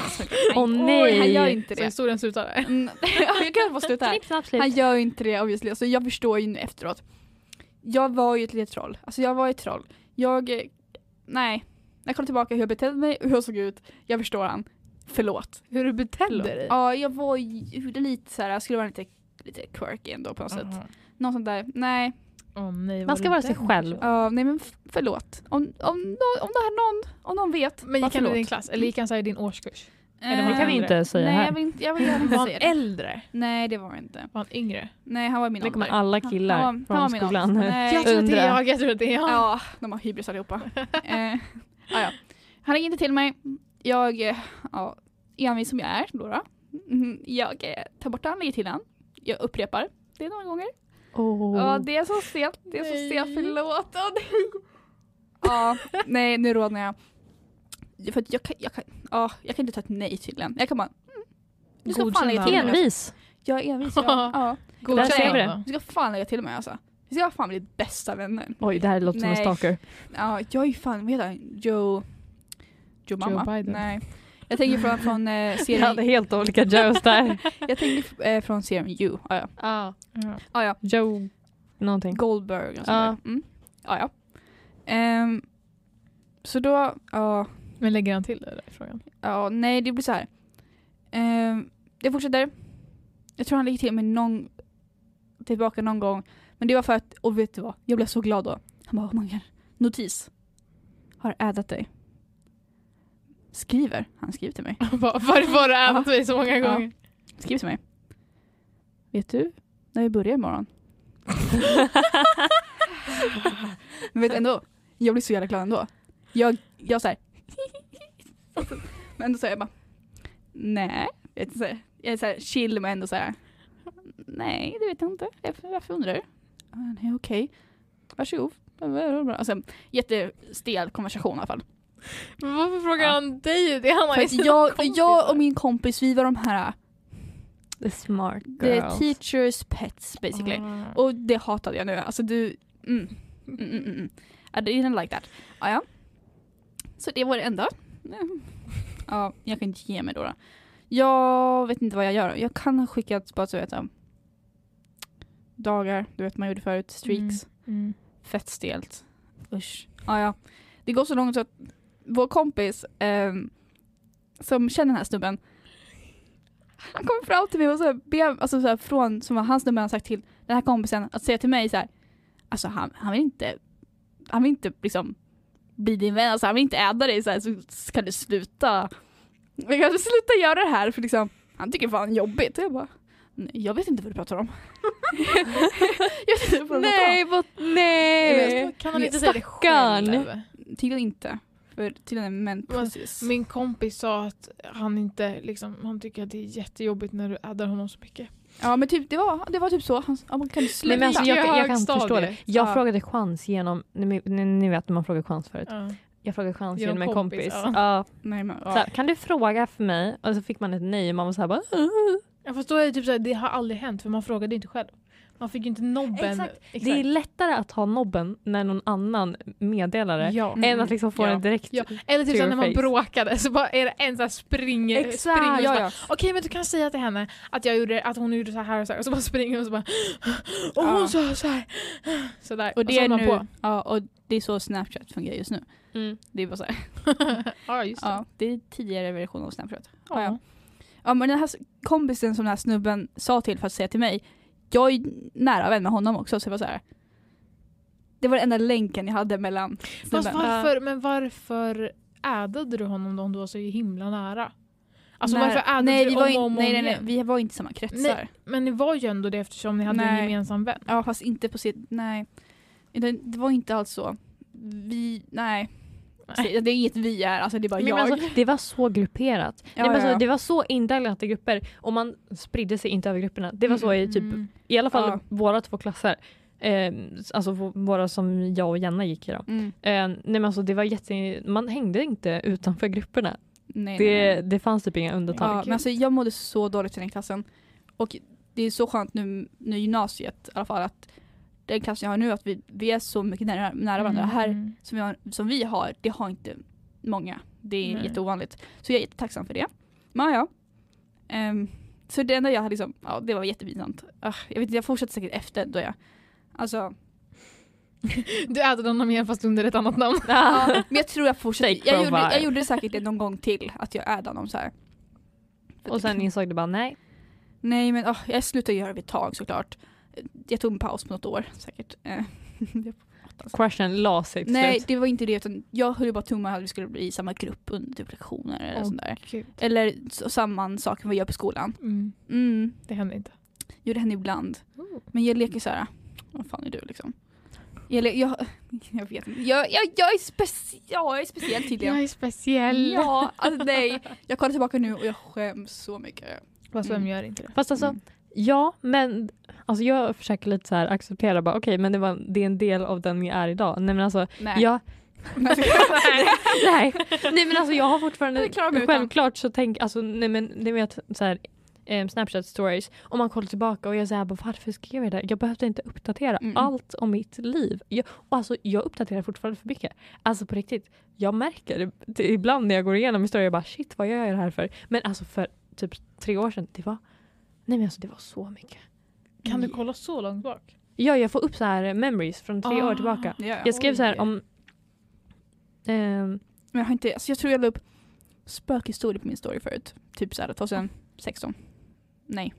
B: Åh, nej.
A: Oj, han gör inte
C: Så
A: det.
C: historien slutar där.
A: Mm, ja, jag kan få sluta här. Han gör ju inte det obviously, alltså, jag förstår ju nu efteråt. Jag var ju ett litet troll, alltså jag var ett troll. Jag, eh, nej. När jag kollar tillbaka hur jag betedde mig och hur jag såg ut, jag förstår han. Förlåt.
C: Hur du betedde dig.
A: Ja, jag var ju lite såhär, jag skulle vara lite, lite quirky ändå på något sätt.
C: Mhm.
A: Något sånt där, nej.
C: Åh, nej, var
B: Man ska
C: du
B: vara sig
C: den
B: själv.
C: personen?
A: Ja, nej men f- förlåt. Om, om, nå- om det här någon, om någon vet.
C: Men
A: bara
C: gick han i
A: förlåt.
C: din klass? Eller gick han så här i din årskurs?
A: Eh,
C: Eller
B: Det kan vi inte säga
A: Nej, jag
B: här.
A: vill inte, jag vill gärna inte
C: Var han
A: säga det.
C: äldre?
A: Nej, det var han inte.
C: Var han yngre?
A: Nej, han var i min
B: Det kommer
A: ålder.
B: alla
A: Han-
B: killar
A: han var- han
B: från
A: var min ålder.
B: skolan.
A: Nej.
C: Jag tror att det är
B: Undrar.
C: jag, jag tror att det är
A: Eh,
C: jag.
A: Ja, de har hybris allihopa. eh, ah, ja. Han ringer inte till mig. Jag, eh, ja, envis som jag är då. då. Mhm, Jag eh, tar bort han, lägger till han. Jag upprepar det några gånger.
B: Åh.
A: Ja, det är så sent. Det är så
C: Nej.
A: sent. Förlåt. Ja, det- Ja, nej nu rodnar jag. För att jag kan, jag kan, ja, jag kan inte ta ett nej tydligen. Jag kan bara, mm, du ska fan lägga till mig.
B: Envis.
A: Jag är envis. Ja. Ja.
C: God
B: Där
C: tjej,
B: ser vi det.
C: Anna.
A: Du ska fan lägga till mig alltså. Vi ska fan bli bästa vänner.
B: Oj, det här låter som en
A: Nej.
B: stalker.
A: Ja, jag är ju fan, vad heter han? Joe... Joe mamma?
C: Biden.
A: Nej. Jag tänker från, från eh,
B: Vi hade
A: serien,
B: helt olika Joes där.
A: jag tänker eh, från serien You. Ah, ja.
C: Ja.
A: Ah, ja.
B: Joe någonting.
A: Goldberg och sånt
B: Ja.
A: där. Mm. Ah, ja. Ehm, så då, ja,
C: Men lägger han till dig där i frågan?
A: ja, nej det blir så här. Ehm, jag fortsätter. Jag tror han lägger till mig någon, tillbaka någon gång. Men det var för att, och vet du vad? Jag blev så glad då. Han bara, oh my god, notis. Har addat dig. Skriver. Han skriver till mig.
C: Varför har du ätit mig så många
A: Ja.
C: gånger?
A: Skriv till mig. Vet du när vi börjar imorgon? Men vet ändå, jag blir så jävla glad ändå. Jag, jag såhär... men ändå säger jag bara... Nej. Vet du, så här, jag är såhär chill men ändå såhär... Nej, det vet jag inte. Jag- Varför undrar du? "Ah, Nej, okej. Varsågod. Alltså, jättestel konversation i alla fall.
C: Men varför frågar
A: Ja.
C: han dig det? Han har
A: För
C: ju
A: att
C: sina
A: jag,
C: kompisar.
A: jag och min kompis vi var de här
B: The smart
A: the
B: girl.
A: teachers pets basically.
C: Ah.
A: Och det hatade jag nu. Alltså du... Mm. Mm, mm, mm, mm. I didn't like that. Ah, ja. Så det var det enda. Mm. Ja, jag kan inte ge mig då, då. Jag vet inte vad jag gör. Jag kan ha skickat bara så vet jag. Dagar, du vet man gjorde förut. Streaks.
C: Mm.
A: Fett stelt. Usch. Ah, ja. Det går så långt så att vår kompis ehm, som känner den här snubben han kom fram till mig och så ber, alltså så här, från, som var hans nummer han sagt till den här kompisen att säga till mig så här, alltså han, han vill inte, han vill inte liksom bli din vän, alltså han vill inte äda dig så här, så ska du sluta, jag kan sluta göra det här för liksom, han tycker fan jobbigt. Och jag bara, Nej, Jag vet inte vad du pratar om. jag vet inte vad du pratar
B: Nej, vad, nej!
C: Men Kan man inte säga det
B: Eh, Stackarn.
C: själv?
A: om. Tydligen inte. För tydligen är män
C: Men-
A: precis.
C: Min kompis sa att han inte liksom, han tycker att det är jättejobbigt när du addar honom så mycket.
A: Ja men typ, det, var, det var typ så. Han, ja, man kan ju
B: Nej,
A: sluta.
B: men alltså, jag,
C: Jag
B: jag,
C: är
B: kan
C: högstadiet.
B: förstå det. Jag
A: Ja.
B: frågade chans genom, ni, ni, ni vet när man frågar chans förut.
C: Ja.
B: Jag frågade chans genom,
C: Genom
B: en kompis.
C: kompis,
B: ja.
C: ja.
A: Nej, men,
B: Så
A: ja.
B: här, kan du fråga för mig? Och så fick man ett nej och man var såhär bara "Ugh."
C: Ja, fast då är det typ såhär, det har aldrig hänt för man frågade ju inte själv. Man fick ju inte nobben.
B: Exakt. Det är lättare att ha nobben när någon annan meddelar det
C: ja.
A: Mm.
B: än att liksom få
C: Ja.
B: den direkt.
C: Ja, eller
B: To
C: typ
B: your
C: såhär när man
B: face.
C: bråkade så bara är det en såhär springer,
B: Exakt,
C: springer och så
A: ja,
C: bara,
A: ja.
C: Okej men du kan säga till henne att, jag gjorde, att hon gjorde så här och så här och så bara springer och så bara och hon
A: Ja.
C: sa så här. Sådär.
A: Och det
C: så
A: är
C: man
A: nu,
C: på.
A: ja, och det är så Snapchat fungerar just nu.
B: Mm.
A: Det är bara så här.
C: ja just det.
A: Ja, det är tidigare version av Snapchat.
C: Ja.
A: ja. Ja men den här s- kompisen som den här snubben sa till för att säga till mig, jag är ju nära vän med honom också så det var så här. Det var den enda länken jag hade mellan snubben.
C: Fast varför, men varför ädade du honom då om du var så himla nära? Alltså
A: När-
C: varför ädade
A: nej,
C: du
A: vi
C: om
A: var in-
C: och om och
A: nej,
C: om
A: nej, nej,
C: igen?
A: vi var inte i samma kretsar.
C: Nej. Men ni var ju ändå det eftersom ni hade
A: Nej.
C: en gemensam vän.
A: Ja fast inte på sitt, nej. Det, det var inte alls så. Vi, nej.
C: Nej.
A: Det är inget vi är, alltså det är bara
B: Men
A: jag.
B: alltså, det var så grupperat.
A: Ja,
B: nej, men
A: ja,
B: alltså,
A: ja.
B: Det var så indelat i grupper och man spridde sig inte över grupperna. Det var så i typ
C: Mm.
B: i alla fall
A: Ja.
B: våra två klasser. Eh, alltså vå- våra som jag och Jenna gick i då.
A: Mm.
B: Eh, nej men alltså det var jätte, man hängde inte utanför grupperna.
A: Nej, nej, nej.
B: Det, det fanns typ inga undantag.
A: Ja, men alltså, jag mådde så dåligt i den klassen. Och det är så skönt nu, nu i gymnasiet i alla fall att den klassen jag har nu, att vi, vi är så mycket nära, nära varandra. Det här
C: Mm.
A: som, jag, som vi har, det har inte många. Det är
C: Nej.
A: jätteovanligt. Så jag är jättetacksam för det. Men ja. Ehm, så det enda jag hade liksom, ja det var jättepinsamt. Ah, jag vet inte, jag fortsatte säkert efter då jag, alltså,
C: Du ädade honom igen fast under ett annat namn.
A: ja, men jag tror jag fortsatte.
B: Take
A: Jag gjorde,
B: profile.
A: jag gjorde säkert det någon gång till, att jag ädde honom så här. typ-
B: och sen insåg du bara nej.
A: Alltså- Nej men ah, jag slutade göra det vid ett tag såklart. Jag tog en paus på något år säkert. Eh,
B: Crushen la sig till
A: Nej
B: slut.
A: det var inte det utan jag höll ju bara tummarna att vi skulle bli i samma grupp under typ lektioner eller
C: Åh,
A: sånt där.
C: Gud.
A: Eller s- samma saker vi gör på skolan.
C: Mm.
A: Mm,
C: Det hände inte.
A: jo det händer ibland. Men jag leker så här. vad fan är du liksom? Jag, le- jag, jag vet inte, jag, jag, jag, är speci- ja, jag är speciell tydligen.
C: Jag är speciell.
A: Ja, alltså nej. Jag kollar tillbaka nu och jag skäms så mycket.
C: Fast vem
A: Mm.
C: gör inte det?
B: Fast alltså
A: Mm.
B: ja men alltså jag försöker lite så här acceptera bara okej men det, var, det är en del av den jag är idag. Nej men alltså
A: Nej.
B: jag nej. nej men alltså jag har fortfarande,
A: Jag är klar med utan.
B: självklart så tänk, alltså nej men ni vet så här, eh, Snapchat stories, om man kollar tillbaka och jag säger bara varför skrev jag det? här? Jag behövde inte uppdatera
A: Mm.
B: allt om mitt liv. Jag, och alltså jag uppdaterar fortfarande för mycket. Alltså på riktigt, jag märker det- det, ibland när jag går igenom historier jag bara shit vad gör jag det här för? Men alltså för typ tre år sedan, det var, nej men alltså det var så mycket.
C: Kan du kolla så långt bak?
B: Ja jag får upp så här memories från tre
C: Ah.
B: år tillbaka.
A: Ja, ja.
B: Jag skrev så här
C: Oj.
B: om ehm,
A: Men jag har inte, alltså jag tror jag la upp spökhistorier på min story förut. Typ såhär 2016. Nej.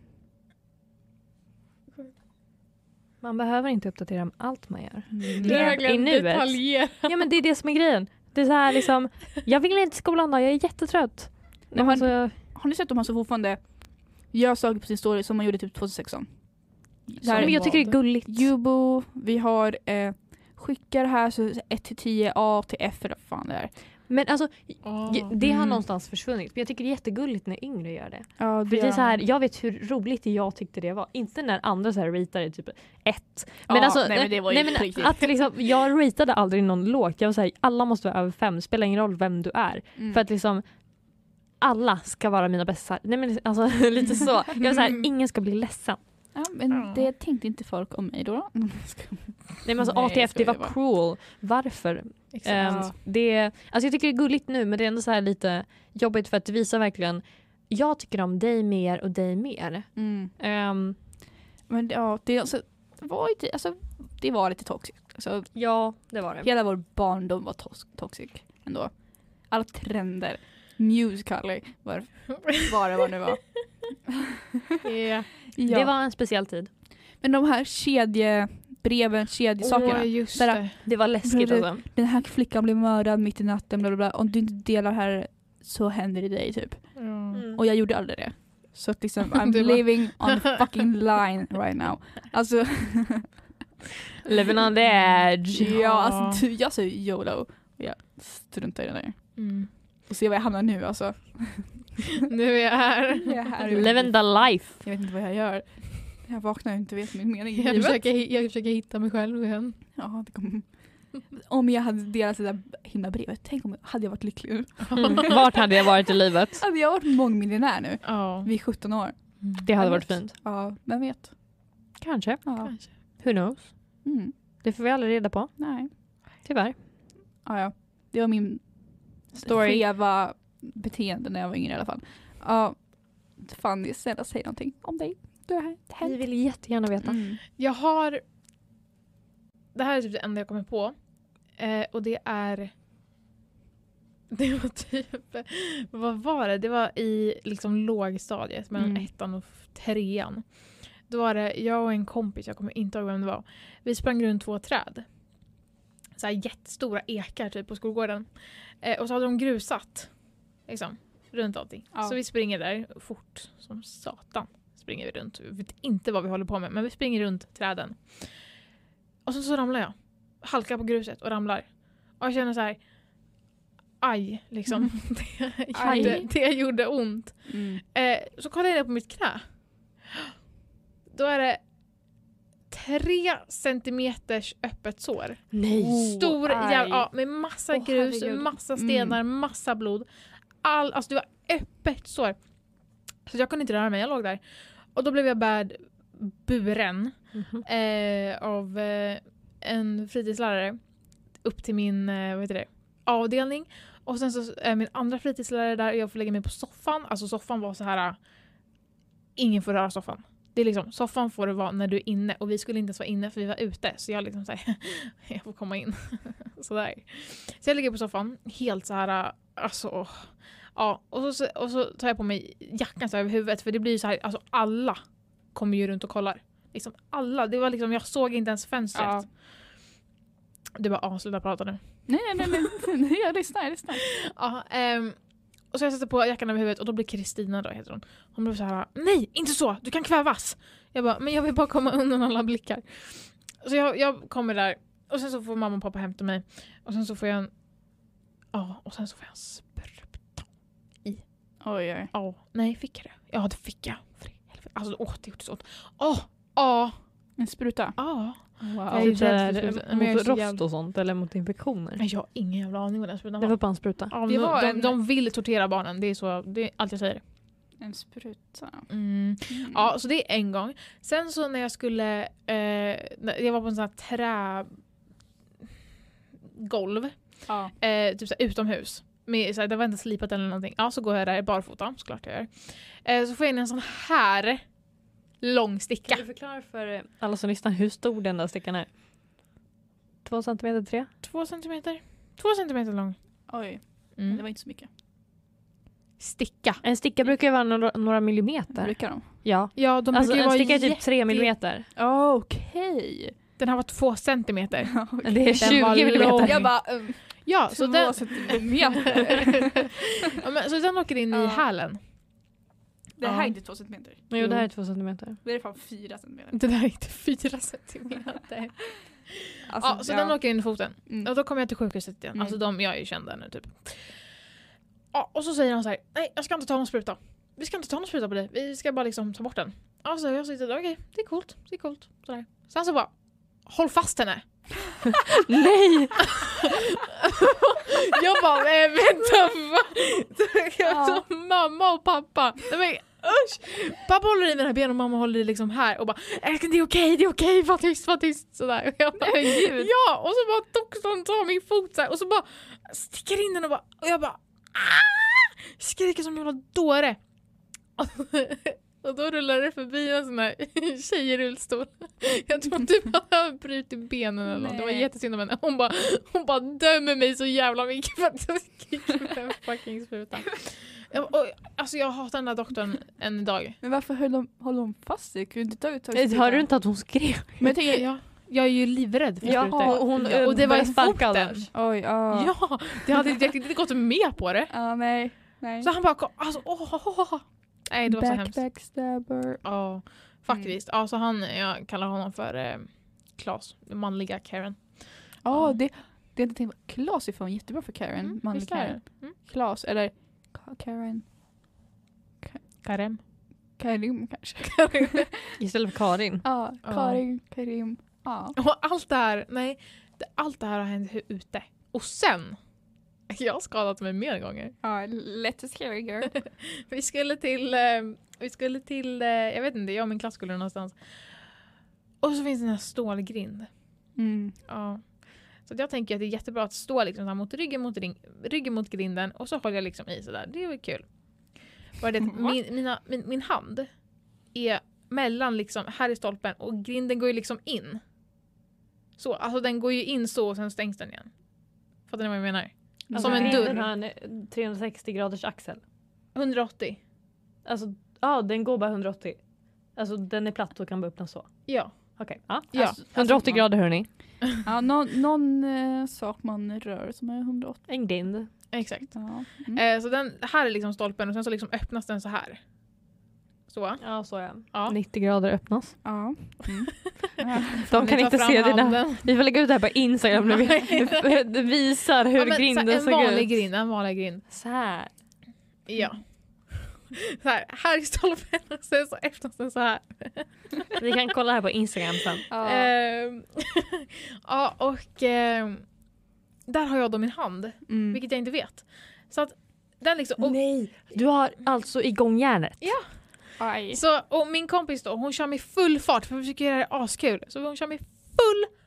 B: Man behöver inte uppdatera om allt man gör.
C: Du har
B: är-
A: Nej.
B: i
C: verkligen
B: nuet.
C: detaljerat.
B: Ja men det är det som är grejen. Det är så här liksom, jag vill inte till skolan då, jag är jättetrött.
A: Men
B: Men
A: har-
B: alltså,
A: Har ni sett om han så fortfarande gör saker på sin story som man gjorde typ 2016? Det
B: men
A: här,
B: jag tycker det är gulligt.
A: Jubo, vi har eh, skickar här så 1 till 10, A till F eller vad fan det är.
B: Men alltså,
C: Oh.
B: det har
A: Mm.
B: någonstans försvunnit. Men jag tycker det är jättegulligt när yngre gör det.
A: Ja,
B: För det är så här, jag vet hur roligt jag tyckte det var. Inte när andra så här rateade typ ett. Men
A: Ja,
B: alltså,
A: nej, men det var ju
B: nej,
A: inte
B: men
A: riktigt.
B: att liksom, jag rateade aldrig någon lågt. Jag var så här, alla måste vara över fem, spelar ingen roll vem du är.
A: Mm.
B: För att liksom alla ska vara mina bästisar. Nej men alltså lite så. Jag var så här, ingen ska bli ledsen.
A: ja, Mm. men
C: Ja.
A: det tänkte inte folk om mig då. då.
B: Nej men alltså
A: Nej,
B: ATF,
A: ska
B: det
A: det
B: var
A: vara.
B: cruel. Varför? Ehm,
C: Exakt.
B: det, alltså jag tycker det är gulligt nu men det är ändå så här lite jobbigt för att det visar verkligen jag tycker om dig mer och dig mer.
A: Mm.
B: Ehm,
A: Men ja, det, alltså, det var ju, alltså, det var lite toxiskt. Alltså,
B: ja, det var det.
A: Hela vår barndom var tos- toxic ändå. Alla trender, musicaler, var, var det vad det nu var.
C: Yeah.
A: Ja.
B: Det var en speciell tid.
A: Men de här kedjebreven, kedjesakerna.
C: Åh, just
A: Där-
C: det.
B: Det var läskigt
A: Bror,
B: alltså.
A: Den här flickan blev mördad mitt i natten, bla bla bla. Om du inte delar här så händer det dig typ.
C: Ja.
B: Mm.
A: Och jag gjorde aldrig det. Så att liksom I'm
C: Du bara-
A: living on the fucking line right now. Alltså,
B: Living on the edge.
A: ja, alltså du, jag säger YOLO. Jag struntar i det där.
C: Mm.
A: Och se var jag hamnar nu alltså.
C: Nu är jag här.
A: Jag är här.
B: Living the life.
A: Jag vet inte vad jag gör. Jag vaknar och inte vet min mening i
C: Jag
A: livet.
C: försöker, hi- jag försöker hitta mig själv igen.
A: Ja, det kommer. Om jag hade delat det där himla brevet, tänk om jag hade jag varit lycklig nu.
B: Mm. Vart hade jag varit i livet?
A: Hade jag varit mångmiljonär nu?
C: Ja.
A: Vid 17 år.
C: Mm.
B: Det hade
A: Vem
B: varit
A: vet?
B: fint.
A: Ja, vem vet.
B: Kanske.
A: Ja.
C: Kanske.
B: Who knows?
A: Mm.
B: Det får vi aldrig reda på,
A: Nej.
B: tyvärr.
A: Ja, ja. Det var min
B: Story.
A: skeva beteende när jag var yngre i alla fall. Ja. Fanny, snälla säg någonting om dig. Du har
B: Vi
A: hänt.
B: vill jättegärna veta.
A: Mm.
C: Jag har... Det här är typ det enda jag kommer på. Eh, och det är... Det var typ... Vad var det? Det var i liksom lågstadiet, mellan
A: Mm.
C: ettan och f- trean. Då var det jag och en kompis, jag kommer inte ihåg vem det var. Vi sprang runt två träd. Så här jättestora ekar typ på skolgården. Eh, och så hade de grusat. Liksom, runt allting.
A: Ja.
C: Så vi springer där fort som satan. Springer vi runt. Vi vet inte vad vi håller på med men vi springer runt träden. Och så, så ramlar jag. Halkar på gruset och ramlar. Och jag känner så här. Aj, liksom. Det,
A: Aj.
C: gjorde, det gjorde ont.
A: Mm.
C: Eh, så kollar jag ner på mitt knä. Då är det tre centimeters öppet sår.
B: Nej.
C: Stor
A: aj.
C: jävla, ja, med massa
A: Åh,
C: grus,
A: herregud. Mm.
C: massa stenar, massa blod. All, alltså det var öppet sår. Så jag kunde inte röra mig, jag låg där. Och då blev jag bad buren
B: Mm.
C: eh, av eh, en fritidslärare upp till min eh, vad heter det, avdelning. Och sen så är min andra fritidslärare där och jag får lägga mig på soffan. Alltså soffan var så här. eh, Ingen får röra soffan. Det är liksom, soffan får det vara när du är inne och vi skulle inte ens vara inne för vi var ute. Så jag liksom såhär, jag får komma in. Sådär. Så jag ligger på soffan, helt så här, eh, alltså åh. Ja, och så, och så tar jag på mig jackan så här över huvudet för det blir ju så här, alltså alla kommer ju runt och kollar. Liksom alla, det var liksom, jag såg inte ens fönstret.
A: Ja.
C: Du bara, ja sluta prata nu.
A: Nej, nej, nej, nej, nej, jag lyssnar, jag lyssnar.
C: Ja, ehm, och så jag sätter på jackan över huvudet och då blir Kristina då, heter hon. Hon blev så här, nej inte så, du kan kvävas. Jag bara, men jag vill bara komma undan alla blickar. Så jag, jag kommer där och sen så får mamma och pappa hämta mig. Och sen så får jag en, ja och sen så får jag en spruta.
A: Oj, oj.
C: Ja, nej fick jag det? Ja det fick jag. För i helvete. Alltså åh det gjorde så ont. Åh, ja,
A: En spruta.
C: ja.
A: Wow.
C: Jag är ju rädd för sprutor. Men jag är
B: Alltså, mot
C: så
B: rost
C: jävla-
B: och sånt eller mot infektioner.
C: Men jag har ingen jävla aning vad den sprutan
B: Det
C: var.
B: var bara en spruta.
C: Ja,
A: Det
C: de,
A: var
C: de,
A: en-
C: de vill tortera barnen, det är, så, det är allt jag säger.
A: En spruta.
C: Mm.
A: Mm.
C: Ja, så det är en gång. Sen så när jag skulle, eh, när jag var på en sån här trägolv,
A: Ja.
C: eh, typ så här utomhus. Med, så här, det var inte slipat eller någonting. Ja, så går jag där barfota, såklart jag gör. Eh, så får jag in en sån här lång sticka.
B: förklara för alla som lyssnar hur stor den där stickan är? Två centimeter tre?
C: Två centimeter. Två centimeter lång.
A: Oj,
C: Mm.
A: det var inte så mycket.
C: Sticka.
B: En sticka brukar ju vara några, några
A: Där.
B: millimeter.
A: Brukar de?
B: Ja.
C: Ja, de
B: Alltså
C: brukar ju
B: en
C: vara
B: sticka är typ
C: jätte-
B: tre millimeter.
A: Okej.
C: Den här var två centimeter.
B: Det är
C: Den var
B: 20 millimeter.
C: lång.
A: Jag bara, um,
C: Ja,
A: två
C: så den,
A: centimeter.
C: ja, men, så den åker in i
A: Ja.
C: hälen.
A: Det här
C: Ja.
A: är inte två centimeter.
B: Jo det här är två centimeter.
A: Det är fan fyra centimeter.
C: Det där är inte fyra centimeter.
A: Alltså,
C: ja, så den åker in i foten.
A: Mm.
C: Och då kom jag till sjukhuset igen.
A: Mm.
C: Alltså de, jag är ju känd där nu typ. Ja, och så säger han så här, nej jag ska inte ta någon spruta. Vi ska inte ta någon spruta på dig, vi ska bara liksom ta bort den. Ja, så jag sitter där, okej det är coolt, det är coolt. Sådär. Sen så bara, håll fast henne.
B: Nej!
C: Jag bara, eh, vänta vad?
A: Ja.
C: Så Mamma och pappa. Nej, men, usch. Pappa håller i mina ben och mamma håller i liksom här och bara, älskling det är okej, det är okej, var tyst, var tyst. Sådär. Och jag bara,
A: Herregud.
C: Ja, och så bara doktorn tar min fot så här, och så bara sticker in den och bara och jag bara "Ah!" skriker som en jävla dåre. Och då rullar det förbi en sån här tjej i rullstol. Jag tror typ att han brutit benen eller något. Det var
A: Nej.
C: jättesynd om henne. Hon bara, hon bara dömer mig så jävla mycket för att jag skriker med en fucking spruta. Jag, och, alltså jag hatar den där doktorn än idag.
A: Men varför höll de, håll de fast dig? Kunde du inte ta ut tag i
B: Hörde du inte att hon skrev?
A: Men jag tänker,
C: Jag, jag är ju livrädd för
B: Ja,
C: sprutor.
B: hon, hon,
C: och det var i
B: började sparka
C: foten.
B: annars.
A: oj, ja.
C: Ja, det hade direkt inte gått med på det.
A: Ja, nej. nej.
C: Så han bara, kom- alltså åh, åh, åh. Nej det var så hemskt.
A: Backbackstabber.
C: Ja, faktiskt. Ja, så han, jag kallar honom för eh, Klas, den manliga Karen.
A: Ja,
C: Ja.
A: det, det är inte tänkt på. Klas är fan jättebra för Karen.
C: Mm,
A: manlig
C: visst är
A: Karen.
C: det? Mm.
A: Klas, eller Ka- Karen.
C: Karen.
A: Karim kanske.
B: Istället för Karin.
A: Ja,
C: Ja.
A: Karin, Karim. Ja.
C: Och allt det här, nej, det, allt det här har hänt hu- ute. Och sen, jag har skadat mig mer gånger.
A: ja, let us hear it girl.
C: Vi skulle till, eh, vi skulle till eh, jag vet inte, jag och min klass skulle någonstans. Och så finns den här stålgrind.
A: Mm.
C: Ja. Så att jag tänker att det är jättebra att stå liksom så här mot ryggen mot, ring, ryggen mot grinden och så håller jag liksom i sådär. Det är väl kul. Bara det att
A: Va?
C: min, mina, min, min hand är mellan liksom, här i stolpen och grinden går ju liksom in. Så, alltså den går ju in så och sen stängs den igen. Fattar ni vad jag menar?
B: Alltså,
A: Som en
C: grinden
A: dörr.
B: har en 360 graders axel.
C: 180.
B: Alltså, ja, den går bara 180. Alltså den är platt och kan bara öppnas så.
C: Ja.
B: Okej. Ja.
C: Ja.
A: Alltså,
B: 180
A: alltså, man-
B: grader hörni.
A: Ja, någon, någon eh, sak man rör som är Mm. 180.
B: En grind.
C: Exakt.
A: Ja.
B: Mm.
C: Eh, så den, här är liksom stolpen och sen så liksom öppnas den så här. Så.
B: Ja, så ja.
C: Ja.
B: 90 grader öppnas.
A: Ja. Mm.
B: De kan
C: ta
B: inte
C: fram
B: se dina...
C: handen.
B: Vi får lägga ut det här på Instagram när vi visar hur
C: Ja, men så här,
B: grinden
C: en
B: såg
C: vanlig
B: ut. Mm.
C: grind, en vanlig grind.
B: Så här.
C: Ja. Så här, här i stolpen och sen så öppnas den så här.
B: Vi kan kolla här på Instagram sen.
A: Ja.
C: Ehm, ja och ehm, där har jag då min hand,
A: Mm.
C: vilket jag inte vet. Så att den liksom, och,
B: Nej, du har alltså igång järnet.
A: Aj.
C: så, och min kompis då, hon kör med full fart för vi försöker göra det askul. Så hon kör med full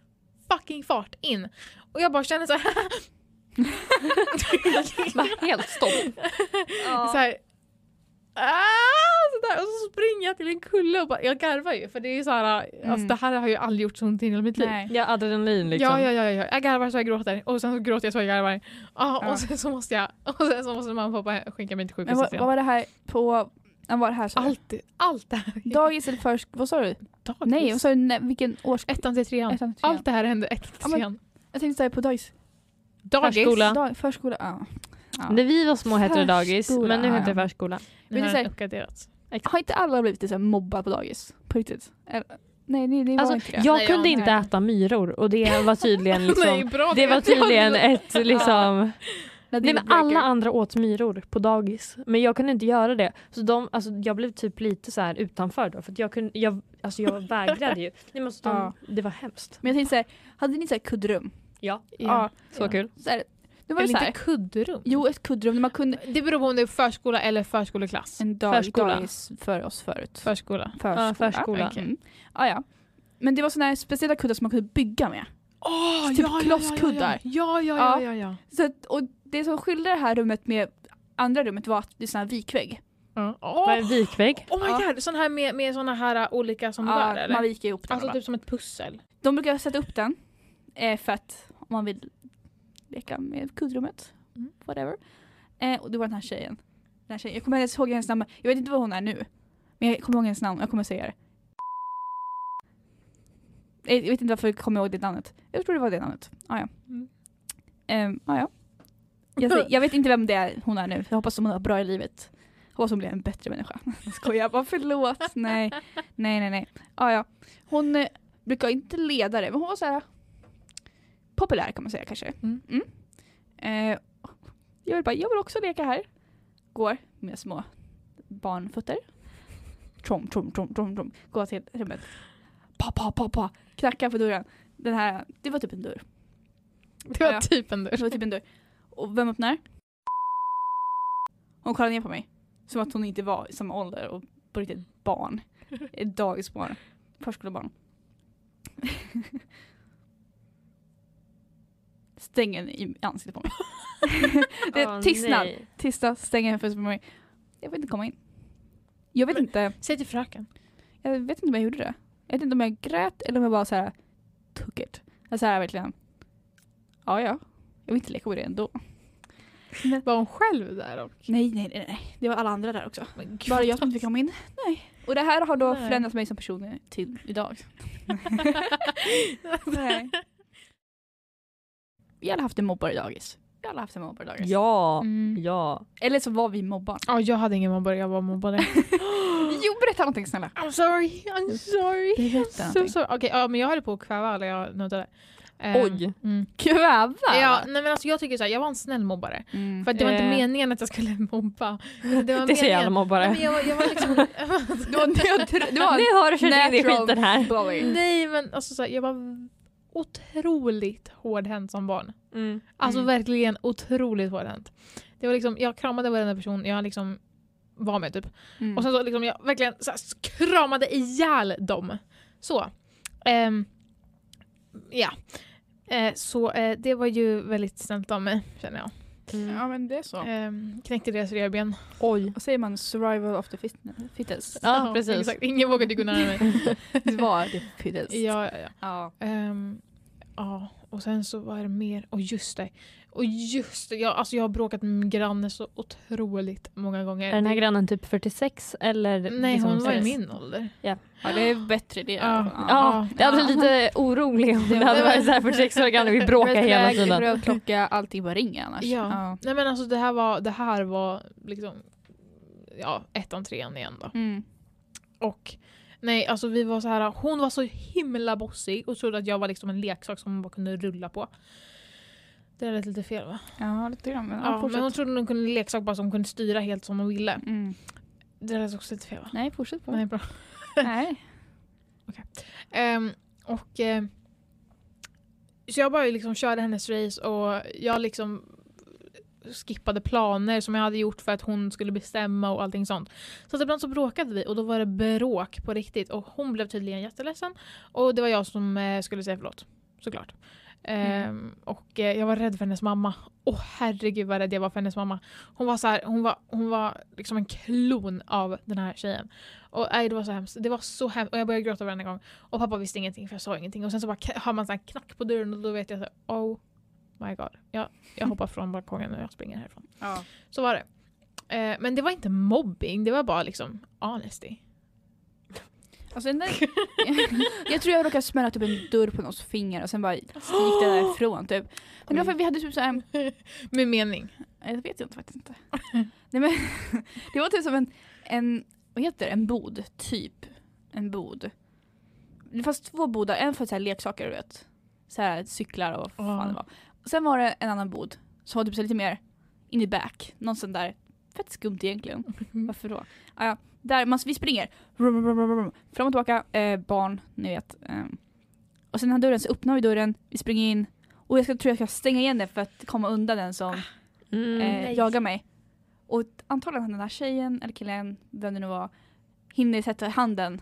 C: fucking fart in. Och jag bara känner så här,
B: Bara helt stopp.
C: så här, "Ah!" så där. och så springer jag till en kulle och bara, jag garvar ju för det är ju så här, alltså,
A: Mm.
C: det här har ju aldrig gjort så ont i hela mitt liv.
A: Nej.
B: Ja, adrenalin liksom.
C: Ja, ja, ja, ja, jag garvar så jag gråter och sen så gråter jag så jag garvar. Ja,
A: Ja.
C: Och sen så måste jag, och sen så måste mamma och pappa skicka mig till
A: Men vad,
C: sjukhuset
A: vad
C: igen.
A: var det här på... Vad var det här? sa du?
C: Allt, allt det här.
A: Dagis eller försk... Vad sa du?
C: Dagis.
A: Nej, vad sa du? Nej, vilken års...
C: Ettan till trean.
A: Ettan till trean.
C: Allt det här hände ettan
A: Ja,
C: till
A: men-
C: trean.
A: Jag tänkte säga på dagis.
C: Dagis.
B: Förskola.
A: Dag, förskola. Ja. Ja.
B: När vi var små hette det dagis,
A: Förskola.
B: men nu heter det förskola.
C: Nu har
A: Men det är
C: den
A: så här-
C: uppgraderats.
A: Har inte alla blivit lite så här mobbade på dagis? På riktigt? Eller, nej, nej, det var
B: Alltså,
A: inte det.
B: jag
C: Nej,
B: kunde
C: ja,
B: inte
A: nej.
B: äta myror och det var tydligen liksom...
C: Nej, bra,
B: Det var tydligen ett liksom...
A: Nej, det
B: Nej
A: är
B: men
A: breaker.
B: alla andra åt myror på dagis. Men jag kunde inte göra det. Så de, alltså, jag blev typ lite så här utanför då. För att jag, kunde, jag, alltså, jag vägrade ju. Nej, men så de,
A: Ja.
B: Det var hemskt.
A: Men jag tänkte såhär, hade ni såhär kuddrum?
B: Ja,
A: Ja.
B: så kul.
A: Så här, det var
C: Eller
A: det
C: inte
A: såhär.
C: kuddrum.
A: Jo, ett kuddrum där man kunde...
C: Det beror på om det är förskola eller förskoleklass.
A: En dag,
B: Förskola.
A: dagis för oss förut.
C: Förskola.
A: Förskola.
B: Ja, förskola.
A: Okej. Mm. Ja, ja. Men det var såna här speciella kuddar som man kunde bygga med.
C: Åh,
A: Typ klosskuddar.
C: Ja, ja, ja,
A: Ja.
C: ja, ja, ja.
A: Så att, och det som skilde det här rummet med andra rummet var att det är sån här vikvägg.
C: ja.
B: Det var
C: Åh,
B: en vikvägg.
C: Oh my
A: Ja.
C: god, sån här med, med såna här äh, olika som
A: Ja,
C: rör
A: man
C: eller?
A: viker ihop den.
C: Alltså
A: va?
C: typ som ett pussel.
A: De brukar sätta upp den eh, för att om man vill leka med kuddrummet.
C: Mm.
A: Whatever. Eh, och det var den här tjejen. Den här tjejen. Jag kommer inte ihåg hennes namn. Jag vet inte vad hon är nu. Men jag kommer ihåg hennes namn. Jag kommer säga det. Eh, Jag vet inte varför jag kommer ihåg det namnet. Jag tror det var det namnet. Ah, ja.
C: Mm.
A: Ehm, ah, ja. Jag, säger- jag vet inte vem det är hon är nu. Jag hoppas hon har bra i livet. Hoppas hon blir en bättre människa. Jag skojar bara. Förlåt. Nej. Nej, nej, nej. Ah, ja. Hon eh, brukar inte leda det, men hon var så här populär kan man säga kanske.
C: Mm.
A: Eh, jag vill bara, jag vill också leka här. Går med små barnfötter. Trom, trom, trom, trom, trom. Går till rummet. Pa, pa, pa, pa. Knackar på dörren. Den här, det var typ en dörr.
C: Det var
A: Ja.
C: typ en dörr.
A: Det var typ en dörr. Och vem öppnar? Hon kollar ner på mig. Som att hon inte var i samma ålder och på riktigt ett barn. Ett dagisbarn. Förskolebarn. Stänger i ansiktet på mig. det är
B: Åh,
A: tystnad.
B: nej.
A: Tystnad, stänger ansiktet på mig. Jag vill inte komma in. Jag vet inte,
C: Säg till fröken.
A: jag vet inte om jag gjorde det. Jag vet inte om jag grät eller om jag bara så här took it. Jag så här verkligen. Ja, ja. Jag vill inte leka med det ändå.
C: Var hon själv där? Och...
A: Nej, nej, nej, nej. Det var alla andra där också.
C: Men gud.
A: Bara jag som fick komma in. Nej. Och det här har då
C: Nej.
A: förändrat mig som person till idag. nej. Vi hade haft en mobbare i dagis. vi alla haft en mobbardag.
B: Ja,
C: Mm.
B: ja.
A: Eller så var vi mobbaren.
C: Ja, jag hade ingen mobbare, jag var mobbare.
A: Jo, berätta någonting snälla.
C: I'm sorry, I'm sorry.
A: Berätta
C: So sorry. Okej, ja, men jag höll på att kväva alla jag nuddade. Ehm,
B: Oj.
C: Mm.
A: Kväva!
C: Ja, nej, men alltså, jag tycker så här, jag var en snäll mobbare.
A: Mm.
C: För att det var inte
B: Eh.
C: meningen att jag skulle mobba. Det, var
B: Det säger
C: meningen-
B: alla
C: Nej,
B: mobbare.
C: men jag, var- jag var liksom...
A: Du var neutral. Du var
B: Nu har du kört in i
A: Natural.
B: skiten här.
A: bully.
C: Nej men alltså så här, jag var otroligt hårdhänt som barn.
B: Mm.
C: Alltså
A: Mm.
C: verkligen otroligt hårdhänt. Det var liksom, jag kramade varenda person jag liksom var med typ.
A: Mm.
C: Och sen så liksom jag verkligen så här, kramade ihjäl dem. Så. Ehm, ja. Eh, så eh, det var ju väldigt snällt av mig känner jag.
B: Mm.
A: Ja men det är så.
C: Ehm, knäckte deras revben.
B: Oj.
A: Eh, Vad säger man? Survival of the fitne- fittest.
B: Ja, precis.
C: Exakt. Ingen vågade gå nära mig.
A: Det var det fittest.
C: ja, ja, ja.
A: Ja.
C: Ehm, ja, och sen så var det mer. Och just det. Och just det. Jag, alltså jag har bråkat med min granne så otroligt många gånger.
B: Är den här grannen typ 46 eller?
C: Nej,
B: liksom
C: hon var i
B: 60?
C: min ålder.
A: ja det är bättre det.
C: Ja.
B: Ja, jag hade
A: Ja.
B: lite orolig om det hade
C: var-
B: varit så här 46 år gamla vi bråkar hela tiden.
A: röd klocka, allting bara ringer annars.
C: Ja. Nej men alltså det här var, det här var liksom ja, ettan, trean igen då.
A: Mm.
C: Och nej, alltså vi var så här, hon var så himla bossig och trodde att jag var liksom en leksak som hon bara kunde rulla på. Det lät lite fel va?
A: ja lite grann. Men,
C: Ja,
A: ja,
C: men hon
A: fortsätt.
C: trodde hon kunde en leksak bara som kunde styra helt som hon ville.
A: Mm.
C: Det lät också lite fel va?
A: Nej fortsätt bara.
C: Nej, bra.
A: Nej.
C: Ehm, och, ehm, så jag bara liksom körde hennes race och jag liksom skippade planer som jag hade gjort för att hon skulle bestämma och allting sånt. Så att ibland så bråkade vi och då var det bråk på riktigt och hon blev tydligen jätteledsen och det var jag som eh, skulle säga förlåt. Såklart. Ehm, och eh, jag var rädd för hennes mamma. Åh herregud vad rädd jag var för hennes mamma. Hon var, så här, hon var, hon var liksom en klon av den här tjejen. Och nej, det var så hemskt. Det var så hemskt och jag började gråta varenda gång. Och pappa visste ingenting för jag sa ingenting. Och sen så bara k- hör man så här knack på dörren och då vet jag så här, oh my god. Jag, jag hoppar från balkongen och jag springer härifrån.
A: Ja.
C: Så var det. Eh, men det var inte mobbing, det var bara liksom honesty.
A: Alltså, den där, jag tror jag råkade smälla typ en dörr på någons finger och sen bara gick det därifrån typ. Men det var för att vi hade typ så här,
C: Med mening.
A: Nej, det vet jag inte faktiskt inte. Nej, men, det var typ som en, en, vad heter det, en bod, typ. En bod. Det fanns två bodar, en för så här leksaker du vet. Så här cyklar och vad fan det var. Och sen var det en annan bod som var typ så här lite mer in i back. Någon sån där, fett skumt egentligen.
C: Mm.
A: Varför då? Ah, ja. Där, man, vi springer. Rum, rum, rum, rum. Fram och tillbaka, eh, barn, ni vet. Ehm. Och sen den här dörren, så öppnar vi dörren, vi springer in. Och jag ska, tror jag ska stänga igen den för att komma undan den som
B: Mm.
A: eh, jagar mig. Och antagligen han den här tjejen eller killen, vem det nu var, hinner sätta handen,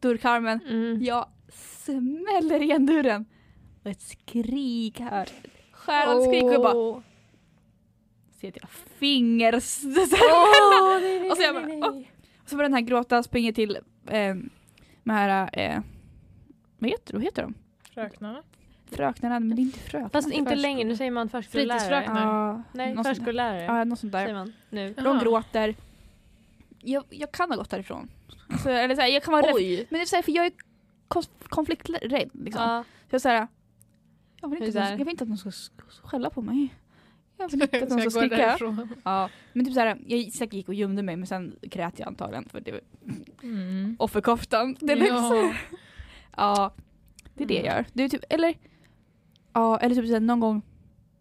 A: dörrkarmen.
B: Mm.
A: Jag smäller igen dörren. Och ett skrik här. Skärande skrik och jag bara
B: Åh.
A: ser att jag finger...
B: Åh, nej, nej,
A: Och så jag
B: nej,
A: bara,
B: nej.
A: Och så var den här gråta, springer till eh, de här, eh, vad heter, vad heter de?
C: Fröknarna.
A: Fröknarna, men det är inte fröknar.
B: Fast inte
C: Förskola.
B: längre, nu säger man förskollärare.
C: Fritidsfröken.
A: Ja,
B: Nej,
A: något sånt där.
B: förskollärare
A: Ja, något sånt där.
B: säger man nu.
A: De gråter. Jag, jag kan ha gått därifrån. Alltså, eller så här, jag kan vara rädd.
B: Oj!
A: Men det är så här, för jag är konf- konflikträdd. Liksom.
B: Ja.
A: Så jag, är så här, jag, vill
B: Det är
A: inte
B: så
A: att
B: här.
A: någon, jag vill inte att någon ska sk- skälla på mig. Jag vill inte att
C: Ska
A: någon
C: jag
A: ska
C: gå
A: skrika.
C: därifrån?
A: Ja, men typ så här, jag säkert gick och gömde mig men sen grät jag antagligen för det var
C: Mm.
A: offerkoftan. Det är liksom.
C: Ja.
A: Ja, det är det jag gör. Det är typ, eller, ja, eller typ så här, någon gång,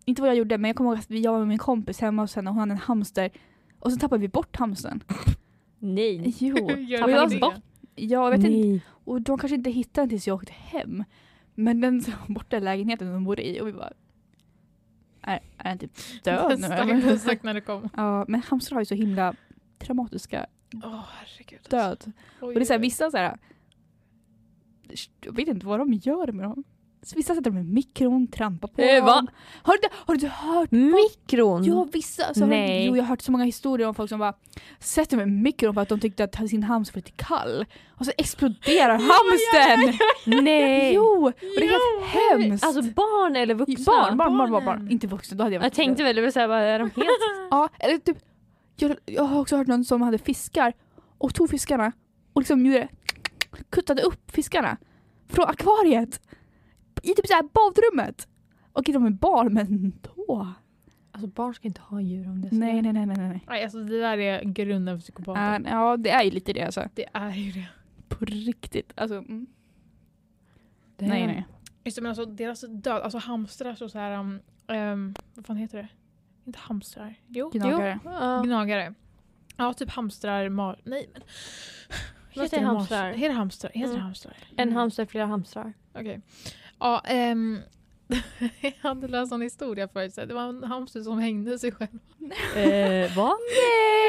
A: inte vad jag gjorde men jag kommer ihåg att jag var med min kompis hemma och sen hon hade en hamster och så tappade vi bort hamstern.
B: Nej.
A: Jo,
C: Mm. Gör
A: tappade
C: man
A: vi
C: det?
A: bort. Ja, jag vet inte Och de kanske inte hittade den tills jag åkte hem. Men den som var borta i lägenheten de bodde i och vi bara... Är, är den typ död nu eller?
C: Stack- Stack när det kom.
A: Ja, men hamstrar har ju så himla traumatiska
C: Åh herregud. alltså.
A: död. Och det är såhär vissa såhär... Jag vet inte vad de gör med dem. Så vissa sätter dem i mikron, trampar på
B: Eh, va?
A: dem. Har du, har du hört?
B: Mikron!
A: Ja vissa. Så har,
B: Nej.
A: jo, jag har hört så många historier om folk som bara sätter dem i mikron för att de tyckte att sin hamster var lite kall. Och så exploderar hamstern!
B: Nej!
A: Jo! Och det är helt hemskt!
B: Alltså barn eller vuxna?
A: barn, barn, barn, barn, barn,
C: Barnen.
A: inte vuxna. Då hade jag
B: Jag
A: varit
B: tänkte väl, det vill säga, vad är de helt...
A: Ja, eller typ, jag, jag har också hört någon som hade fiskar och tog fiskarna och liksom gjorde, kuttade upp fiskarna från akvariet i typ så här badrummet. Och de är barn, men då.
B: Alltså barn ska inte ha djur om det är så.
A: Nej, nej, nej, nej. nej.
C: Nej, alltså det där är grunden för psykopater.
A: Äh, ja, det är ju lite det alltså.
C: Det är ju det.
A: På riktigt. Alltså, mm.
B: Det är-
A: nej, nej.
C: Just det, men alltså deras död, alltså hamstrar och så här, um, ehm, vad fan heter det? Inte hamstrar, jo.
A: Gnagare.
B: Ja.
C: Gnagare. Ja, typ hamstrar, mar... Nej men. Vad
B: Heter
C: det? Mars-
B: hamstrar?
C: Heter det hamstrar? Heter det
B: Mm.
C: hamstrar?
B: En hamster, flera hamstrar.
C: Okej. Ja, ehm, jag hade läst en historia förut. så här, Det var en hamster som hängde sig själv.
B: eh, vad?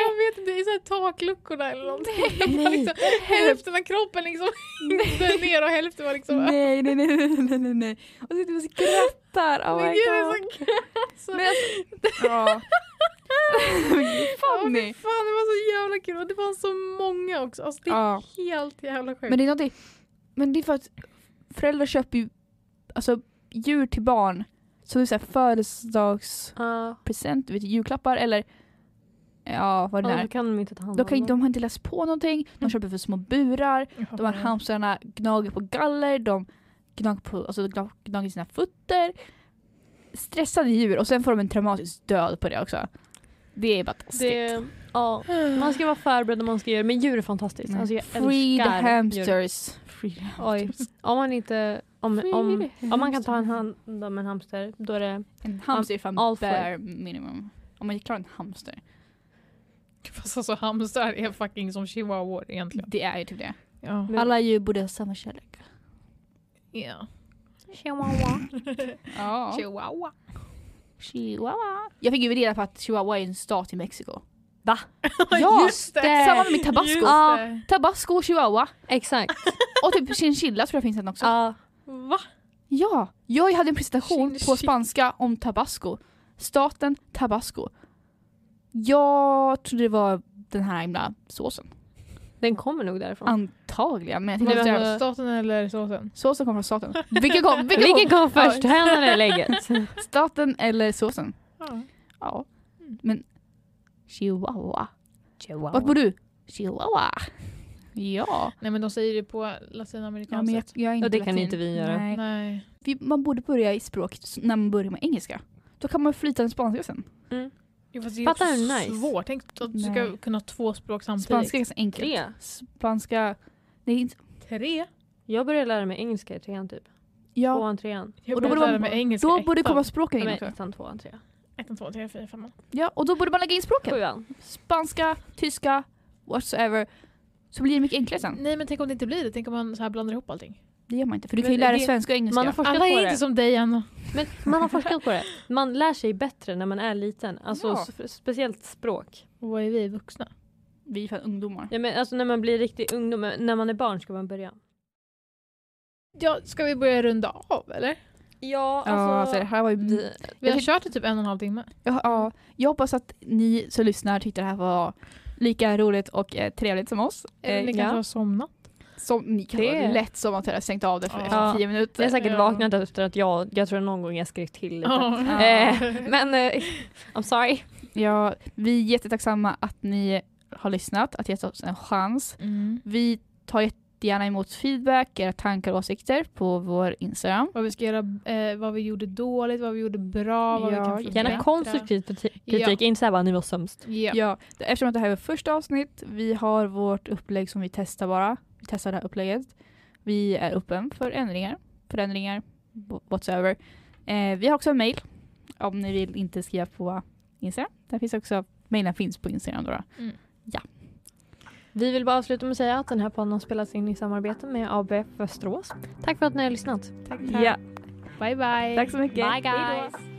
C: Jag vet inte, i så här takluckorna eller någonting. Det var
B: Nej.
C: Liksom, hälften av kroppen liksom hängde ner och hälften var liksom...
A: Nej, nej, nej, nej, nej, nej, nej. Och sitter och skrattar. Oh
C: Men
A: my
C: gud, det är
A: god.
C: så kul.
A: Men alltså, ja.
C: Ja, fy
A: Funny.
C: fan, det var så jävla kul och det var så många också. Alltså, det är
A: Ja.
C: helt jävla sjukt.
A: Men det är någonting, men det är för att föräldrar köper ju alltså, djur till barn som är så här födelsedagspresent, du
B: Ja,
A: vet, julklappar eller ja, vad det nu
B: de
A: är.
B: Alltså, kan de inte ta hand
A: De, kan,
B: om.
A: inte- de har inte läst på någonting,
C: Mm.
A: de köper för små burar, de
B: Mm.
A: här hamstrarna gnager på galler, de gnager, på, alltså, de gnager sina fötter. Stressade djur och sen får de en traumatisk död på det också. Det är bara taskigt.
B: det, ja. Man ska vara förberedd om man ska göra men djur är fantastiskt.
A: Nej.
B: Alltså, jag
A: Mm. Free the
B: älskar Djur.
A: hamsters.
B: Oj. Om man inte... Om, om, om man kan ta en hand om en hamster, då är det...
A: En hamster är fan
B: all for
A: bare minimum. Om man klarar en hamster.
C: Fast alltså hamstrar är fucking som chihuahuor egentligen.
A: Det är ju typ det.
C: Ja.
B: Men-
A: Alla djur borde ha samma kärlek.
C: Ja.
B: Chihuahua.
A: Ja.
C: Chihuahua.
A: Chihuahua. Jag fick ju reda på att Chihuahua är en stat i Mexiko.
B: Va?
A: Ja!
C: Just det.
A: Samma med
C: Just
A: tabasco.
C: det.
A: Tabasco och chihuahua.
B: Exakt.
A: Och typ chinchilla tror jag finns en också.
B: Ja.
C: Va?
A: Ja! Jag hade en presentation
C: Chin-
A: på spanska om tabasco. Staten tabasco. Jag trodde det var den här himla såsen.
B: Den kommer nog därifrån.
A: Antagligen. Men jag
C: Var
A: tänkte
C: det
A: att det-
C: staten eller såsen?
A: såsen kommer från staten. Vilken kom, vilken kom?
B: Vilken kom först, hönan eller ägget?
A: Staten eller såsen?
C: Ja.
A: Ja.
C: Mm.
A: Men chihuahua. Vart
B: Chihuahua.
A: bor du? Chihuahua. Ja.
C: Nej men de säger det på latinamerikanskt. sätt.
A: jag är
B: Ja, det kan inte vi göra.
A: Nej.
C: Nej.
A: Vi, man borde börja i språk s- när man börjar med engelska. Då kan man flyta en spanska sen.
C: Jo, fast det är
B: Fattar
C: också
B: du hur nice?
C: svårt. Tänk att du ska
A: Nej.
C: kunna två språk samtidigt.
A: Spanska är ganska enkelt.
B: Tre.
A: Spanska... Det är inte,
C: Tre.
B: Jag började lära mig engelska i trean typ.
A: ja,
B: Tvåan, trean.
C: Jag
A: Och då
C: borde
A: borde
C: lära
A: man-
C: mig engelska.
A: då borde
C: ettan.
A: komma språken
B: Nej,
A: in
B: men
A: också.
B: ettan, tvåan, trean.
C: Ettan, tvåan, trean, fyran, femman.
A: Ja, och då borde man lägga in språken.
B: Sjuan.
A: Spanska, tyska, whatsoever. Så blir det mycket enklare sen.
C: Nej men tänk om det inte blir det. Tänk om man så här blandar ihop allting.
A: Det gör man inte, för du
B: Men
A: kan ju lära dig
B: det-
A: svenska och
B: Man har
A: engelska.
B: forskat
C: Alla
B: på
C: är
B: det.
C: inte som dig Anna.
B: Men man har forskat på det. Man lär sig bättre när man är liten. Alltså
A: Ja.
B: s- speciellt språk.
C: Vad är vi vuxna?
A: Vi är fan ungdomar.
B: Ja, men alltså när man blir riktig ungdom, men när man är barn ska man börja.
C: Ja, ska vi börja runda av eller?
B: Ja,
A: ja, alltså det här var ju
C: Vi har
A: tyck-
C: kört i typ en och en halv timme.
A: Ja, ja, jag hoppas att ni som lyssnar tyckte det här var lika roligt och eh, trevligt som oss.
C: Eller
A: Eh,
C: ni kanske har somnat.
A: som, ni kan
B: Det-
A: det... lätt som att jag har stängt av det för
C: Ja.
A: efter tio
B: Jag har
A: minuter.
B: säkert
C: Ja.
B: vaknat efter att jag, jag tror någon gång jag skrev till lite.
C: Ja.
B: Eh, men eh, I'm sorry.
A: Ja, vi är jättetacksamma att ni har lyssnat, att gett oss en chans.
C: Mm.
A: Vi tar jättegärna emot feedback, era tankar och åsikter på vår Instagram.
C: Vad vi ska göra, eh, vad vi gjorde dåligt, vad vi gjorde bra, vad
A: Ja,
C: vi kan
B: Gärna
C: förbättra.
B: konstruktiv kriti- kritik, inte såhär bara ni var sämst.
C: Ja.
A: Ja, eftersom att det här är första avsnitt, vi har vårt upplägg som vi testar bara. Vi testar det här upplägget. Vi är öppen för ändringar, förändringar, wh- whatsoever. Eh, vi har också en mail om ni vill inte skriva på Instagram. Där finns också, mailen finns på Instagram då. då.
B: Vi vill bara avsluta med att säga att den här podden har spelats in i samarbete med ABF Västerås. Tack för att ni har lyssnat.
A: Ja,
C: Bye bye.
A: tack så mycket.
B: Bye
A: Hej då.
B: guys!